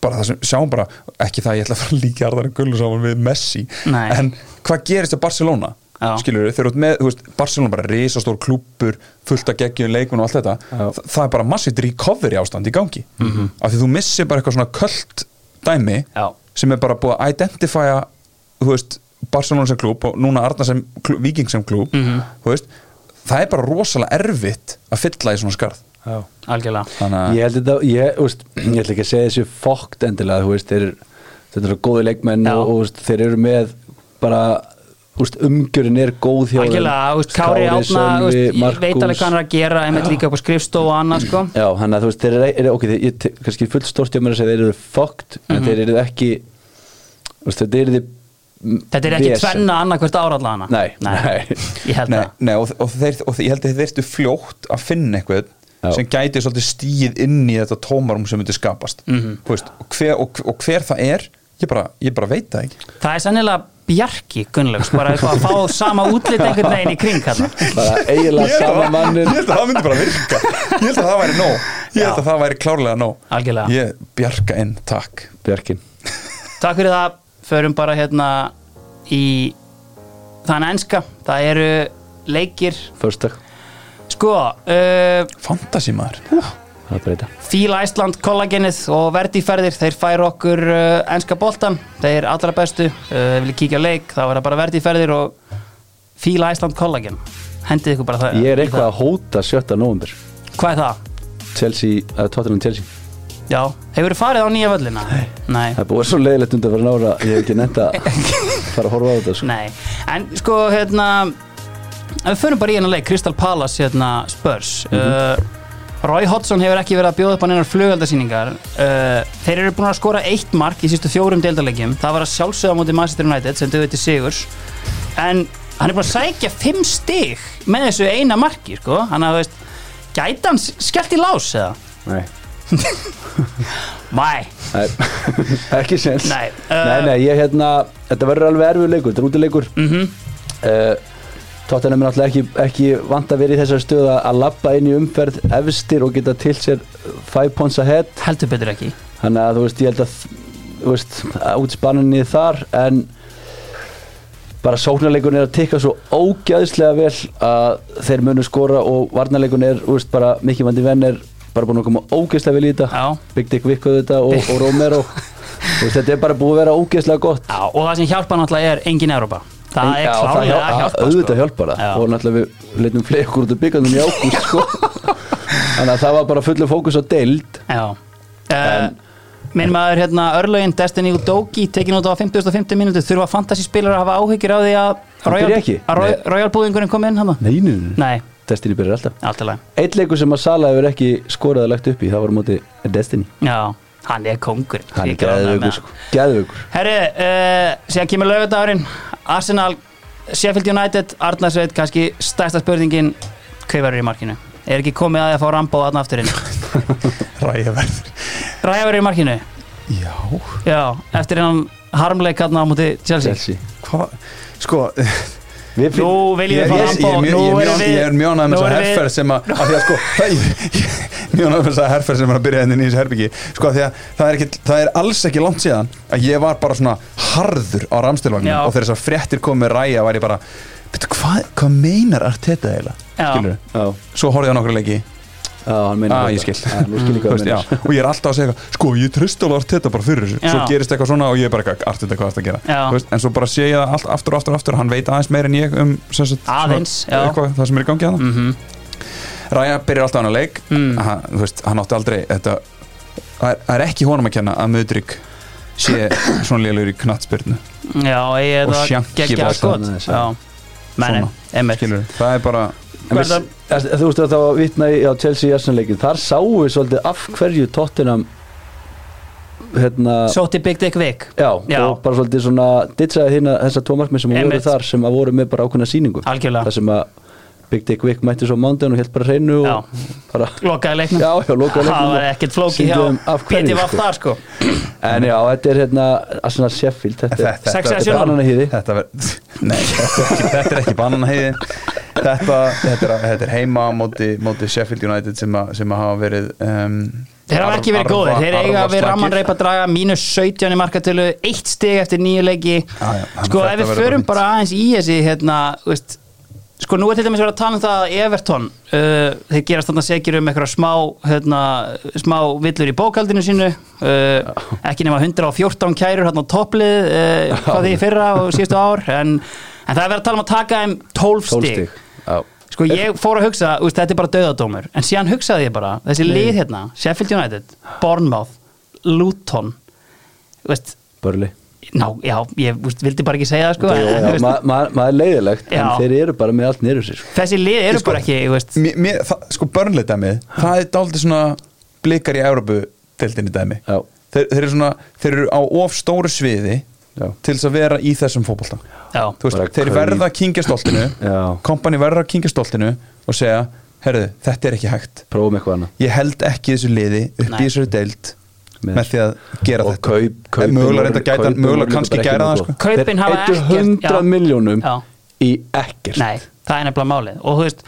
S3: bara það sem sjáum bara ekki það að ég ætla að fara að líka Arðar Gullu saman við Messi
S1: Nei.
S3: en hvað gerist á Barcelona
S1: Já.
S3: skilur þeir út með, þú veist, Barcelona bara risastór klúppur, fullt að geggjum leikun og allt þetta,
S2: Já.
S3: Þa, það er bara massið recovery ástand í gangi -hmm. af því þú missir bara eitthvað svona köld dæmi
S1: Já.
S3: sem er bara búið að identifya þú veist, Barcelona sem klúb og núna Arna sem klúb, Viking sem klúb þú veist, það er bara rosalega erfitt að fylla í svona skarð
S2: Já
S1: algjörlega
S3: þannig að
S2: Ég held þetta, ég, úst, ég ætla ekki að segja þessu fokkt endilega, þú veist, þeir þetta eru góði leikmenn
S1: Já.
S2: og, og úst, þeir eru með bara, úst, umgjörin er góð hjá þeim.
S1: Algjörlega, þú veist, Kári Átna þú
S2: Sölvi,
S1: veist, ég veit alveg
S2: Markús.
S1: hvað hann er að gera einmitt líka upp á skrifstofu og annað sko.
S2: Já, hann að þú veist, þeir eru, er, ok, þeir, ég te- kannski fullt stórt hjá mér að segja þeir eru fokkt, en þeir eru ekki, úst, þetta eru þið
S1: Þetta er ekki tvenna annað hvert ára allana
S2: Nei, nei.
S1: Ég held
S3: Nei,
S1: það
S3: nei, og, og, þeir, og ég held að þeir þyrftu fljótt að finna eitthvað
S2: Já.
S3: sem gæti svolítið stíð inn í þetta tómarum sem myndi skapast
S1: Mhm.
S3: -hmm. veist, og, hver, og, og hver það er ég bara, ég bara veit það ekki
S1: Það er sennilega Bjarki Gunnlaugs bara eitthvað að fá sama útlit einhvern veginn í kring hann
S2: bara eiginlega
S3: ég held,
S2: sama
S3: að, það-
S2: mannir
S3: ég held að það myndi bara virka ég held að það væri nóg ég held að það væri klárlega nóg
S1: Algjörlega.
S3: ég bjarga inn, takk
S2: Björkin,
S1: Takk fyrir það, förum bara hérna í þann enska Það eru leikir
S2: fyrstak,
S1: Sko, uh,
S3: fantasy maður
S2: það breyta
S1: Fíla Æsland, kollagenið og verdiferðir, þeir fær okkur uh, enska boltan, þeir allra bestu, uh, ef við kíkja á leik, þá er það bara verdiferðir og Fíla Æsland, kollagen, hendið ykkur bara það.
S2: Ég er
S1: í
S2: eitthvað að hóta 7. november
S1: það. Hvað er það?
S2: Chelsea, uh, Tottenham Chelsea
S1: Já, hefur þið farið á nýja völlina? Nei
S2: Það er búið svo leiðilegt undir fyrir nára Ég hef ekki nefnt að fara að horfa á þetta sko.
S1: Nei, en sko hérna ef Við förum bara í hennar leik, Crystal Palace hérna, Spurs
S2: Mhm.
S1: uh, Roy Hodgson hefur ekki verið að bjóða upp á neinar flugaldasýningar uh, Þeir eru búin að skora eitt mark í sístu fjórum deildarleikjum Það var að sjálfsögða á móti Manchester United sem duði til Sigurs En hann er búin að sækja fimm stig með þessu eina marki sko. Hann að, þú veist, gæti hann skellt í lás eða?
S2: Nei,
S1: Mæ,
S2: nei. ekki séns
S1: nei
S2: Nei, nei, ég hérna Þetta verður alveg erfið leikur, þetta er útileikur mm -hmm. Tottenham er náttúrulega ekki, ekki vant að vera í þessari stöð að- að labba inn í umferð efstir og geta til sér five points ahead
S1: Heldur betur ekki
S2: þannig að þú veist, ég held að þú veist, að útspanninni þar en bara sóknarleikunni er að tikka svo ógæðislega vel að þeir munu skora og varnarleikunni er, þú veist, bara mikið vandi venn er bara búin að koma ógæðislega vel í þetta
S1: Já.
S2: Big Dick Vickuð þetta og, og Romero Þú veist, þetta er bara búið að vera ógæðislega gott
S1: Já, og það sem hjálpa náttúrulega er engin Európa Það
S2: En-
S1: er
S2: já,
S1: klárlega
S2: hjálp-
S1: að hjálpa sko.
S2: auðvitað hjálpar það
S1: Já.
S2: og náttúrulega við leitum fleikur út úr byggandum í ágúst sko. þannig að það var bara fullu fókus á deild
S1: Já uh, Minn maður hérna örlögin Destiny og Doki tekin út á 50.50 mínútu þurfa fantasyspilar að hafa áhyggjur á því að
S2: Hann byrja
S1: Royal,
S2: ekki?
S1: að Royal, Royal búðingurinn kom inn hann
S2: Nei, nei, nei,
S1: Nei,
S2: Destiny byrjar alltaf
S1: allt í lagi
S2: Eitt leikur sem að Sala hefur ekki skorað að lagt upp í, það var á móti Destiny.
S1: Já, hann er kongur
S2: Hann er geðvögur, sko. Geðvögur.
S1: Herri, uh, síðan kemur lögudagurinn Arsenal, Sheffield United Arnarsveit, kannski stærsta spurningin hvað verður í markinu? Er ekki komið að því að fá rambóð aðna afturinn?
S3: Ræjaverður
S1: Ræja verður í markinu?
S3: Já
S1: Já, eftir hennan harmleik hérna á móti Chelsea.
S2: Chelsea.
S3: Hvað? Sko
S2: Við finn,
S1: Nú
S3: Ég,
S1: viljum
S3: ég,
S1: við fá
S3: ég,
S1: Rambo,
S3: ég,
S1: nú
S3: ég,
S1: erum
S3: mjón,
S1: við
S3: ég er mjónað með
S1: nú
S3: þessa
S1: erum við-
S3: herferð sem að, að því að sko það- ég- ég- mjónað með þessa herferð sem er að byrja henni nýjins herbyggi sko að því að það er, ekki, það er alls ekki langt síðan að ég var bara svona harður á ramstilvagnum
S1: Já.
S3: og þegar þess að fréttir komið ræja var ég bara "Bíddu, hvað, hvað meinar Arteta eiginlega
S1: Já.
S3: skilur
S2: á,
S3: svo horfði ég á nokkru leiki
S2: á, hann meina
S3: Ah,
S2: þetta.
S3: ég skil.
S2: Á, nú skil ég
S3: Þú
S2: hvað
S3: veist,
S2: hann
S3: já,
S2: meina.
S3: og ég er alltaf að segja eitthvað, sko ég trist alveg Arteta bara fyrir þessu svo
S1: Já.
S3: gerist eitthvað svona og ég er bara eitthvað Arteta hvað það að gera
S1: Já.
S3: Þú veist, en svo bara sé ég það allt aftur og aftur og aftur hann veit aðeins meir en ég um sem sagt, svona
S1: Aðeins, já.
S3: eitthvað, það sem er í gangi að það
S1: Mhm.
S3: Ræja byrjar alltaf hann að leik
S1: Mm.
S3: hann, þú veist, hann átti aldrei þetta, það, er, það er ekki honum að kenna að Mudrik sé svona lélugur í knattspyrnu
S1: Já, ég er
S3: Og
S1: það
S3: Shanky
S1: geggja
S3: var
S1: skot
S2: þarna þessi.
S1: Já, menni,
S3: Svona.
S1: emmitt
S3: skilur það er bara
S2: En við- að- Þú veist að það var vitna í á Chelsea Jassanleikin, þar sáum við svolítið af hverju Tottenham hérna,
S1: Sótti Big Dick Vick,
S2: já,
S1: Já.
S2: og bara svolítið svona ditsaði hérna þessar tvo markmið sem voru
S1: Einmitt.
S2: þar sem að voru með bara ákveðna sýningu
S1: algjörlega
S2: þar sem að Big Dick Vick mætti svo á mándaginn og helt bara hreinu
S1: Já.
S2: og bara,
S1: Lokaði leiknum
S2: já, já, lokaði
S1: Það
S2: leiknum
S1: var
S2: og-
S1: ekkert flókið
S2: Sýndu
S1: hjá
S2: þeim af hverju,
S1: Péti Vaff
S2: sko.
S1: þar sko
S2: En já, þetta er hérna Arsenal Sheffield, þetta,
S3: Þetta-
S2: þetta,
S1: Sex
S2: þetta,
S1: eða
S2: þetta
S1: sjö
S2: er
S1: núll?
S2: annan
S3: þetta verð nei, þetta er ekki, þetta er ekki bananaheiðin þetta, þetta, er- þetta er heima á móti, móti Sheffield United sem, að sem að hafa verið um,
S1: Þeir hafa ekki verið góðir, þeir eiga við ramman reypa draga mínus 17 í markatölu, eitt stig eftir nýju leiki
S3: Já, já, þannig
S1: Sko
S3: þetta
S1: ef við
S3: verður
S1: förum
S3: bara fínt.
S1: bara aðeins í þessi hérna, þú veist Sko nú er til dæmis verið að tala um það að Everton uh, þeir gerast þarna segir um eitthvað smá hérna, smá villur í bókaldinu sínu uh, ekki nema 114 kærur hérna á topplið uh, hvað því í fyrra og síðustu ár en, en það er verið að tala um að taka þeim 12
S2: 12
S1: stig
S2: stig Já.
S1: Sko ég fór að hugsa, úst, þetta er bara dauðadómur En síðan hugsaði ég bara, þessi lið hérna Sheffield United, Bournemouth, Luton Þú veist,
S2: Börli
S1: ná, já, ég úst, vildi bara ekki segja það sko en, þú
S2: Maður
S1: veist,
S2: ma ma- maður er leiðilegt en
S1: Já.
S2: þeir eru bara með allt niður sér sko.
S1: Þessi lið eru
S3: Sko-
S1: bara ekki, þú veist
S3: mér, mér, það, sko börnlega dæmið það er dálítið svona blikar í Európu deildinni dæmi
S2: Já.
S3: þeir, þeir, eru svona, þeir eru á of stóru sviði
S2: Já.
S3: til þess að vera í þessum fótbolta
S1: Já,
S3: Þú veist,
S2: Bara
S3: þeir
S2: hvað
S3: verða
S2: í-
S3: að kingja stoltinu
S2: Já.
S3: kompani verða að kingja stoltinu og segja, herðu, þetta er ekki hægt
S2: Prófum eitthvað annað
S3: ég held ekki þessu liði upp
S1: Nei.
S3: í þessari deild
S2: Með-
S3: með því að gera
S2: Og
S3: þetta
S2: kaup-
S3: En
S2: kaupin
S3: mögulega
S2: voru-
S3: reynda gæta,
S2: kaupin voru
S3: mögulega
S2: líka
S3: kannski
S2: bara ekki
S3: gæra það
S2: nógu
S3: sko.
S2: góð.
S1: Kaupin hafa
S2: Þeir
S1: ekkert-
S2: eittu 100
S1: já.
S2: miljónum
S1: Já.
S2: í ekkert sko.
S1: Nei, það er nefnilega málið og þú veist,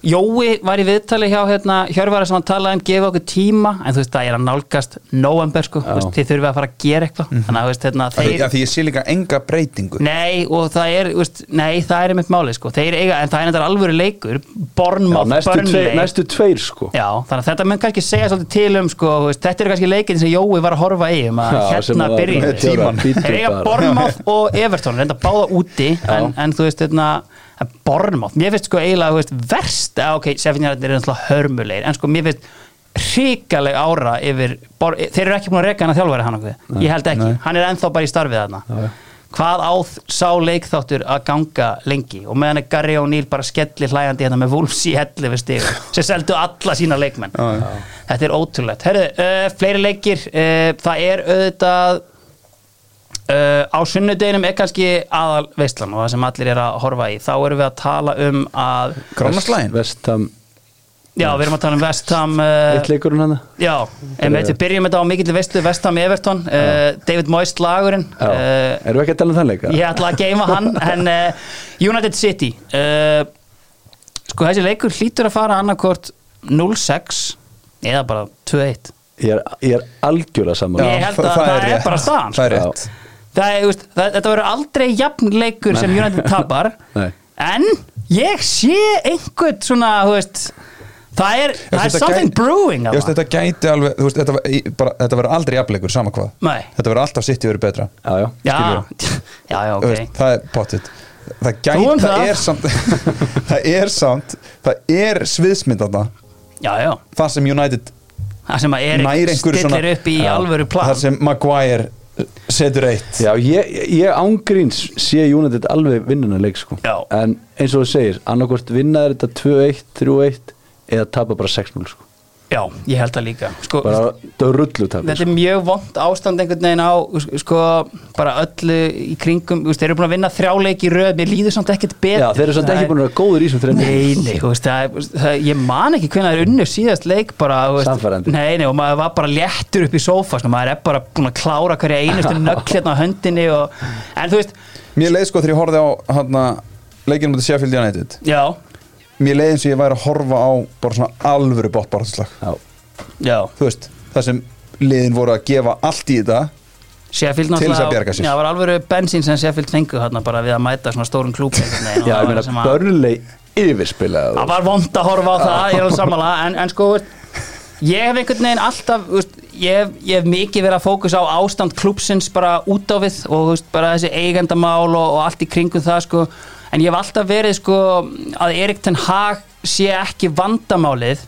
S1: Jói var í viðtali hjá hérna, Hjörvara sem hann talaði um gefa okkur tíma en þú veist, það er að nálgast november sko, þú veist, þið þurfið að fara að gera eitthvað þannig að þú veist, hérna,
S3: Mhm. Af því,
S1: þeir
S3: af því ég sé líka enga breytingu
S1: Nei, og það er, þú veist, nei, það er einmitt málið sko, þeir eiga, en það er þetta alvöru leikur
S2: Já,
S1: Bournemouth,
S2: næstu, tve,
S1: Burnley
S2: næstu tveir sko
S1: Já, þannig að þetta mun kannski segja svolítið til um sko, þú veist, þetta eru kannski leikin sem Jói var að horfa í um að
S2: Já, sem
S1: hérna
S2: að-
S1: byrja
S2: með tímann.
S1: Þeir eiga
S2: Bíddu bara.
S1: Bornmátt og Everton reynda báða úti en, en þú veist, hérna eh, Bornmátt, mér finnst sko eiginlega þú veist, verst, að ok, Sefnjarnir er náttúrulega hörmulegir en sko mér finnst hrikaleg ára yfir, bor, eh, þeir eru ekki búin að reka hann að þjálfæri hann okkur, ég held ekki,
S3: nei.
S1: hann er ennþá bara í starfið þarna
S2: Já, já.
S1: hvað áð sá leikþáttur að ganga lengi og meðan er Gary og Neil bara skelli hlæjandi hérna með Wolves í hellu við stig sem seldu alla sína leikmenn
S3: Já, já.
S1: þetta er ótrúlegt Herru, uh, fleiri leikir, uh, það er auðvitað Uh, á sunnudeginum er kannski aðal veistlan og það sem allir er að horfa í þá erum við að tala um að
S3: Grannarslægin
S2: Vestam,
S1: já, við erum að tala um Vestham uh,
S2: eitt leikurinn hann
S1: Já, en við byrjum þetta á mikill veistlu Vestham Everton, uh, David Moyes lagurinn uh,
S2: Erum við ekki að tala um þann leika?
S1: ég ætla að geima hann en uh, United City uh, sko þessi leikur hlýtur að fara annarkvort 0-6 eða bara 2-1
S2: Ég er, ég er algjörlega saman
S1: Ég held að það er bara staðan,
S3: Það er
S2: sko.
S3: rétt
S1: það, er, þú veist, það, þetta verður aldrei jafn leikur sem United tapar
S2: Nei.
S1: en ég sé einhvern svona þú veist, það er, það er
S3: Ég veist, þetta
S1: something
S3: gæti-
S1: brewing
S3: Ég
S1: þarna.
S3: veist þetta gæti alveg þú veist, Þetta, var- í- bara- þetta verður aldrei jafnleikur sama hvað
S1: Nei.
S3: Þetta verður alltaf sitt verið betra
S2: Já, já
S1: já, já, já,
S3: Þú
S1: ok
S3: veist, Það er pottitt Það gæti,
S1: Þú um
S3: það
S1: það.
S3: er samt Það er samt Það er sviðsmynd þarna
S1: já, já,
S3: Það sem United
S1: það sem að
S3: nær
S1: Erik
S3: einhverju
S1: stillir
S3: svona
S1: upp í
S3: Já.
S1: alvöru plan
S3: Þar sem Maguire eh, setur eitt
S2: Já, ég, ég ángríns sé United alveg vinnuna leik sko
S1: Já.
S2: En eins og þú segir, annarkvort vinna er þetta 2-1, 3-1 eða tapa bara 6-0 sko
S1: já, ég held það líka sko,
S2: Bara dörrullu tapa
S1: þetta
S2: sko.
S1: er mjög vond ástand einhvern veginn á sko, bara öllu í kringum þú veist, þeir eru búin að vinna þrjáleik í röð mér líður samt ekkert betur
S2: Já, þeir eru samt ekki búin að vera góður í þessum sko. þreim
S1: Nei, nei, sko. þú veist, það, er- það, ég man ekki hvernig það er unnu síðast leik bara, þú veist,
S2: Sannfærandi.
S1: Nei, nei, og maður var bara léttur upp í sófa, sko, maður er bara búin að klára hverja einustu nögl hérna á höndinni og, En þú veist,
S3: Mér leið sko þegar ég horfði á hana, leikinu mútið Sheffield United
S1: já,
S3: Mér leið eins og ég væri að horfa á bara svona alvöru bóttbárslag
S2: Já,
S1: já
S3: Þú veist, það sem liðin voru að gefa allt í þetta
S1: Sheffield
S3: Til þess að
S1: náttúrulega-
S3: bjarga sér.
S1: Já, það var alveg bensín sem Sheffield fengu hérna bara við að mæta svona stórum klúb einhvern veginn, og
S2: Já
S1: það
S2: ég
S1: var
S2: meina
S1: sem að-
S2: börnlei
S1: Það
S2: yfirspilaði þá.
S1: var vond að horfa á það, ég er alveg sammála en, en sko, veist, ég hef einhvern veginn alltaf veist, ég, hef, ég hef mikið verið að fókus á ástand klúpsins bara út á við og veist, bara þessi eigendamál og, og allt í kringum það sko. en ég hef alltaf verið sko, að Erik Ten Hag sé ekki vandamálið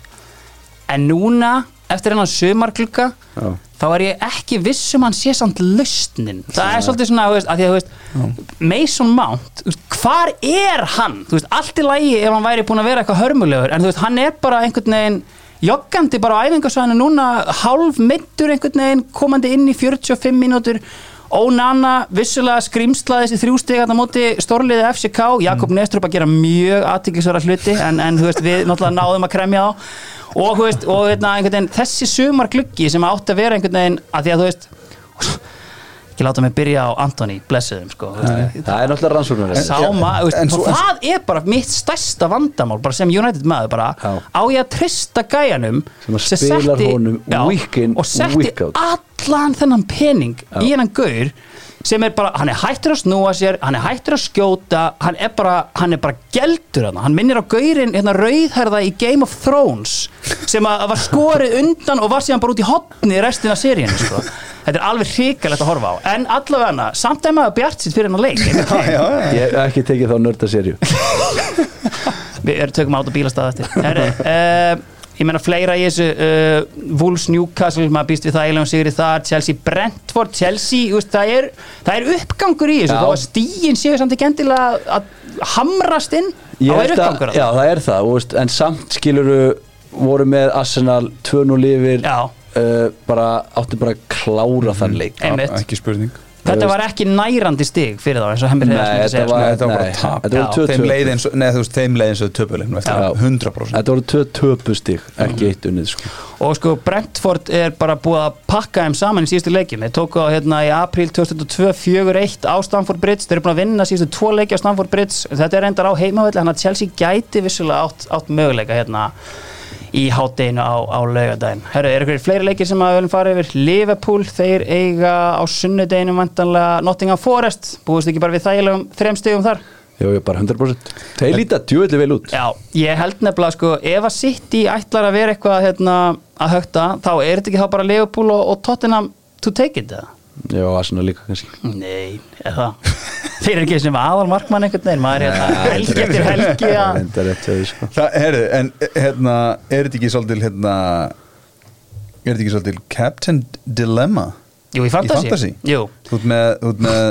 S1: en núna, eftir hennan sömarklukka
S2: Já.
S1: þá er ég ekki viss um hann sé samt lausnin það er svolítið svona, þú veist, að því að þú veist Mason Mount, þú veist, hvar er hann? Þú veist, allt í lagi ef hann væri búin að vera eitthvað hörmulegur, en þú veist, hann er bara einhvern veginn joggandi bara á æfingarsvæðinu núna hálf middur einhvern veginn komandi inn í 45 mínútur Ónana, vissulega skrýmslaði þessi þrjústegarna móti stórliði FCK, Jakob mm. Nestrup að gera mjög aðtiklisvara hluti en, en þú veist, við náttúrulega náðum að kremja þá og, þú veist, og veitna, veginn, þessi sumar gluggi sem átti að vera einhvern veginn að því að þú veist ekki láta mig byrja á Antoni blessuðum sko, þú veist.
S2: Það er náttúrulega rannsóknar
S1: sá
S3: já,
S1: maður, þú
S3: en
S1: veist,
S3: svo-
S1: og það er bara mitt stærsta vandamál, bara sem United maður bara,
S2: Já.
S1: á ég að trista gæjanum
S2: Sem að spilar honum week in,
S1: og setti
S2: week out.
S1: allan þennan pening í hennan gaur sem er bara, hann er hættur að snúa sér hann er hættur að skjóta, hann er bara hann er bara geldur hann, hann minnir á gaurin hérna rauðherða í Game of Thrones sem að var skorið undan og var síðan bara út í hotni í restina af seríunni sko. þetta er alveg hrikalegt að horfa á en allavega samt er maður bjart sitt fyrir hennar leik einhvern veginn.
S2: Ég hef ekki tekið þá nörda serju
S1: Við erum tökum át og bílastað eftir Herri, uh, Ég meina fleira í þessu uh, Wolves Newcastle, maður býst við það eiginlega um sigri þar, Chelsea Brentford, Chelsea þú veist, það, er, það er uppgangur í þessu
S2: Já.
S1: þá að stíin séu samt ekki endilega að hamrast inn þá
S2: Ég
S1: er
S2: held að-
S1: uppgangur
S2: Já,
S1: að
S2: það er það, þú veist, en samt skiluru voru með Arsenal 2-0 yfir
S1: Já. Mm.
S2: uh, bara, áttu bara að klára þann leik
S1: Einmitt.
S3: Ekki spurning
S1: Þetta var ekki nærandi stig fyrir þá eins og hemmir
S2: Nei,
S1: hefðast
S2: þetta var-
S3: Nei, þetta var
S2: nei,
S3: bara tap
S2: þetta
S1: voru
S3: Já.
S2: 2-2.
S3: Þeim leið eins og- Nei, þú veist, þeim leið eins og töpulegum eftir
S2: Já.
S3: það, 100%
S2: Þetta voru tvö töpustig, ekki eitt unnið sko.
S1: og sko Brentford er bara búið að pakka þeim saman í síðustu leikjum þeir tóku á hérna í apríl 2002 4-1 á Stamford Bridge, þeir eru búin að vinna síðustu tvo leiki á Stamford Bridge, þetta er endar á heimavelli hann að Chelsea gæti vissulega átt, átt möguleika hérna í hátdeinu á, á laugardaginn Herru, er ykkur fleiri leikir sem að við viljum fara yfir Liverpool, þeir eiga á sunnudeginum vantanlega Nottingham Forest búist ekki bara við þægilegum þrem stigum þar
S2: Jó, ég er bara 100% Þeir líta djúvillig vel út
S1: Já, ég held nefnilega sko ef að City ætlar að vera eitthvað hérna, að högta, þá er þetta ekki þá bara Liverpool og, og Tottenham to take it eða?
S2: Já, Arsenal líka kannski
S1: Nei, er það Þeir eru ekki sem aðal markmann einhvern veginn maður er hérna helgi eftir helgi að
S2: Reyndar rétt hjá því, sko.
S3: eh, Það, herðu, en hérna, er þetta ekki svolítil hérna er þetta ekki svolítið Captain Dilemma
S1: Jú, í
S3: Í
S1: fantasy,
S3: fantasy?
S1: Jú,
S3: þú ert með, þú ert með,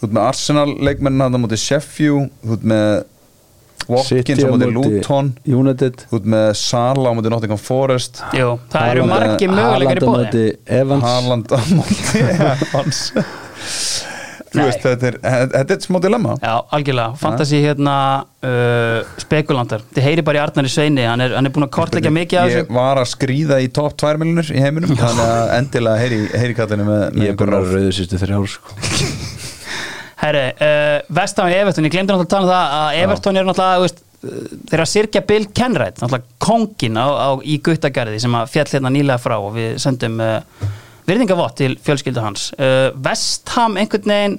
S3: þú ert með Arsenal leikmennin hann á móti Sheffield þú ert með Watkins
S2: City
S3: á
S2: á
S3: móti
S2: móti-
S3: Luton
S2: United
S3: þú ert með Sala á móti Nottingham Forest
S1: jú, það eru
S2: Haaland-
S1: margi möguleikar í
S2: Haaland á
S1: bóði
S2: móti Evans
S3: Haaland á móti Evans þú
S1: Nei.
S3: veist, þetta er, þetta er smá dilemma
S1: Já, algjörlega, fantasy hérna uh, spekulantar, þið heyri bara í Arnari Sveini hann er, hann er búin að kortleggja mikið af
S3: ég
S1: þessu
S3: var að skrýða í top 2 miljonir í heiminum þannig að endilega heyri, heyri kallinu með, með
S2: Ég er bara rauðu sýstu þrjár sko.
S1: Herri, uh, Vestham í Everton, ég glemdi náttúrulega að tala um það að Everton eru náttúrulega, þú veist uh, þeir eru að sirkja Bill Kenwright, náttúrulega kongin á, á, í Guttagarði sem að fjall hérna nýlega frá og við sendum uh, virðingavott til fjölskyldu hans uh, Vestham einhvern veginn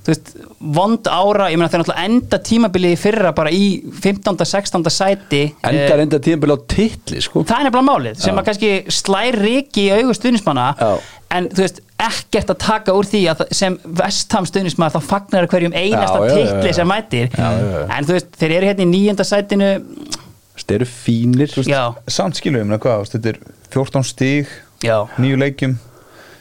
S1: þú veist, vond ára ég meina þeir náttúrulega enda tímabilið í fyrra bara í 15. 16. sæti eh,
S2: Endar enda tíðanbili á titli sko.
S1: það er nefnilega málið sem
S2: Já.
S1: að kannski slær riki í augu stuðnismanna
S2: Já.
S1: en þú veist ekkert að taka úr því að það- sem vestam stuðnismann þá fagnar þær hverjum einasta
S2: Já, já, já, já.
S1: titli sem mætir
S2: já, já.
S1: en þú veist þeir eru hérna í nýjönda sætinu
S2: Þeir eru fínir þú veist.
S1: já,
S3: samt skilum við, hvað, þú veist, þetta er 14 stíg
S1: já
S3: nýju leikjum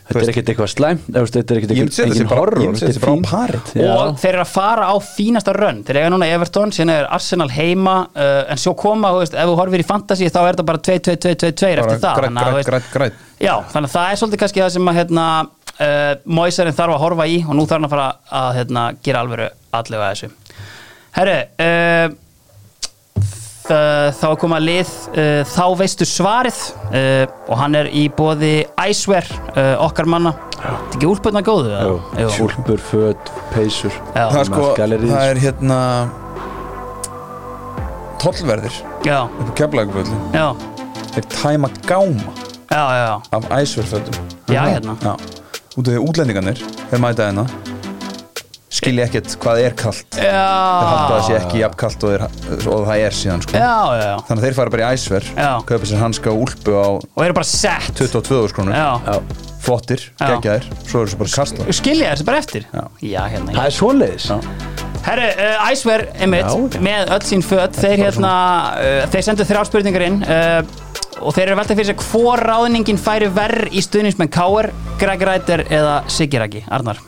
S2: Þetta er ekkert eitthvað slæm eða, þú veist, Þetta er ekkert
S3: Ég myndi
S2: eitthvað
S3: segja þetta sé
S2: engin
S3: bara-
S2: horror
S3: ég myndi segja
S2: þetta er
S3: þetta sé bara
S2: fín.
S3: á pari.
S2: Já.
S1: og þeir eru að fara á fínasta rönn þeir eiga núna Everton, síðan er Arsenal heima uh, en svo koma, þú veist, ef þú horfir í fantasy þá er þetta bara 2-2-2-2-2
S3: bara
S1: eftir það
S3: grætt,
S1: þannig að, þú
S3: grætt,
S1: veist,
S3: grætt, grætt
S1: Já, þannig að það er svolítið kannski það sem að hérna, uh, Moisarin þarf að horfa í og nú þarf hann að fara að hérna, gera alvöru allega þessu Herru uh, þá er komað lið uh, þá veistu svarið uh, og hann er í bóði Æsver uh, okkar manna Þetta er ekki úlpötna góðu? eða?
S2: Já. Úlpur, föt, peysur
S1: Já.
S3: það er sko,
S2: Galleríð,
S3: það er hérna tollverðir
S1: Já,
S3: upp á keflaguföllum
S1: já,
S3: þeir tæma gáma
S1: já, já, já.
S3: af æsverföllum
S1: Já, hérna.
S3: já. út af því að útlendingarnir þeir mæta hérna skilja ekkert hvað er kalt þeir halda
S1: Já,
S3: þessi ekki jafn kalt og, þeir, og það er síðan sko.
S1: Ah. já, já, já.
S3: þannig að þeir fara bara í æsver
S1: Já.
S3: kaupa sér hanska og úlpu á
S1: og eru bara sett
S3: 22
S1: Já.
S3: skrónur
S2: Já.
S3: flottir,
S1: Já.
S3: geggjaðir, svo eru þessi bara kastlar
S1: Skilja þessi bara eftir?
S3: Já.
S1: já hérna,
S2: Það er svoleiðis
S1: Herru, uh, Icewear, einmitt,
S2: Já.
S1: með öll sín föt, þeir hérna, uh, þeir sendu þrjá spurningar inn uh, og þeir eru að velta fyrir sig hvor ráðningin færi verð í stuðningsmenn K.R., Greg Ræter eða Siggi Raggi, Arnar.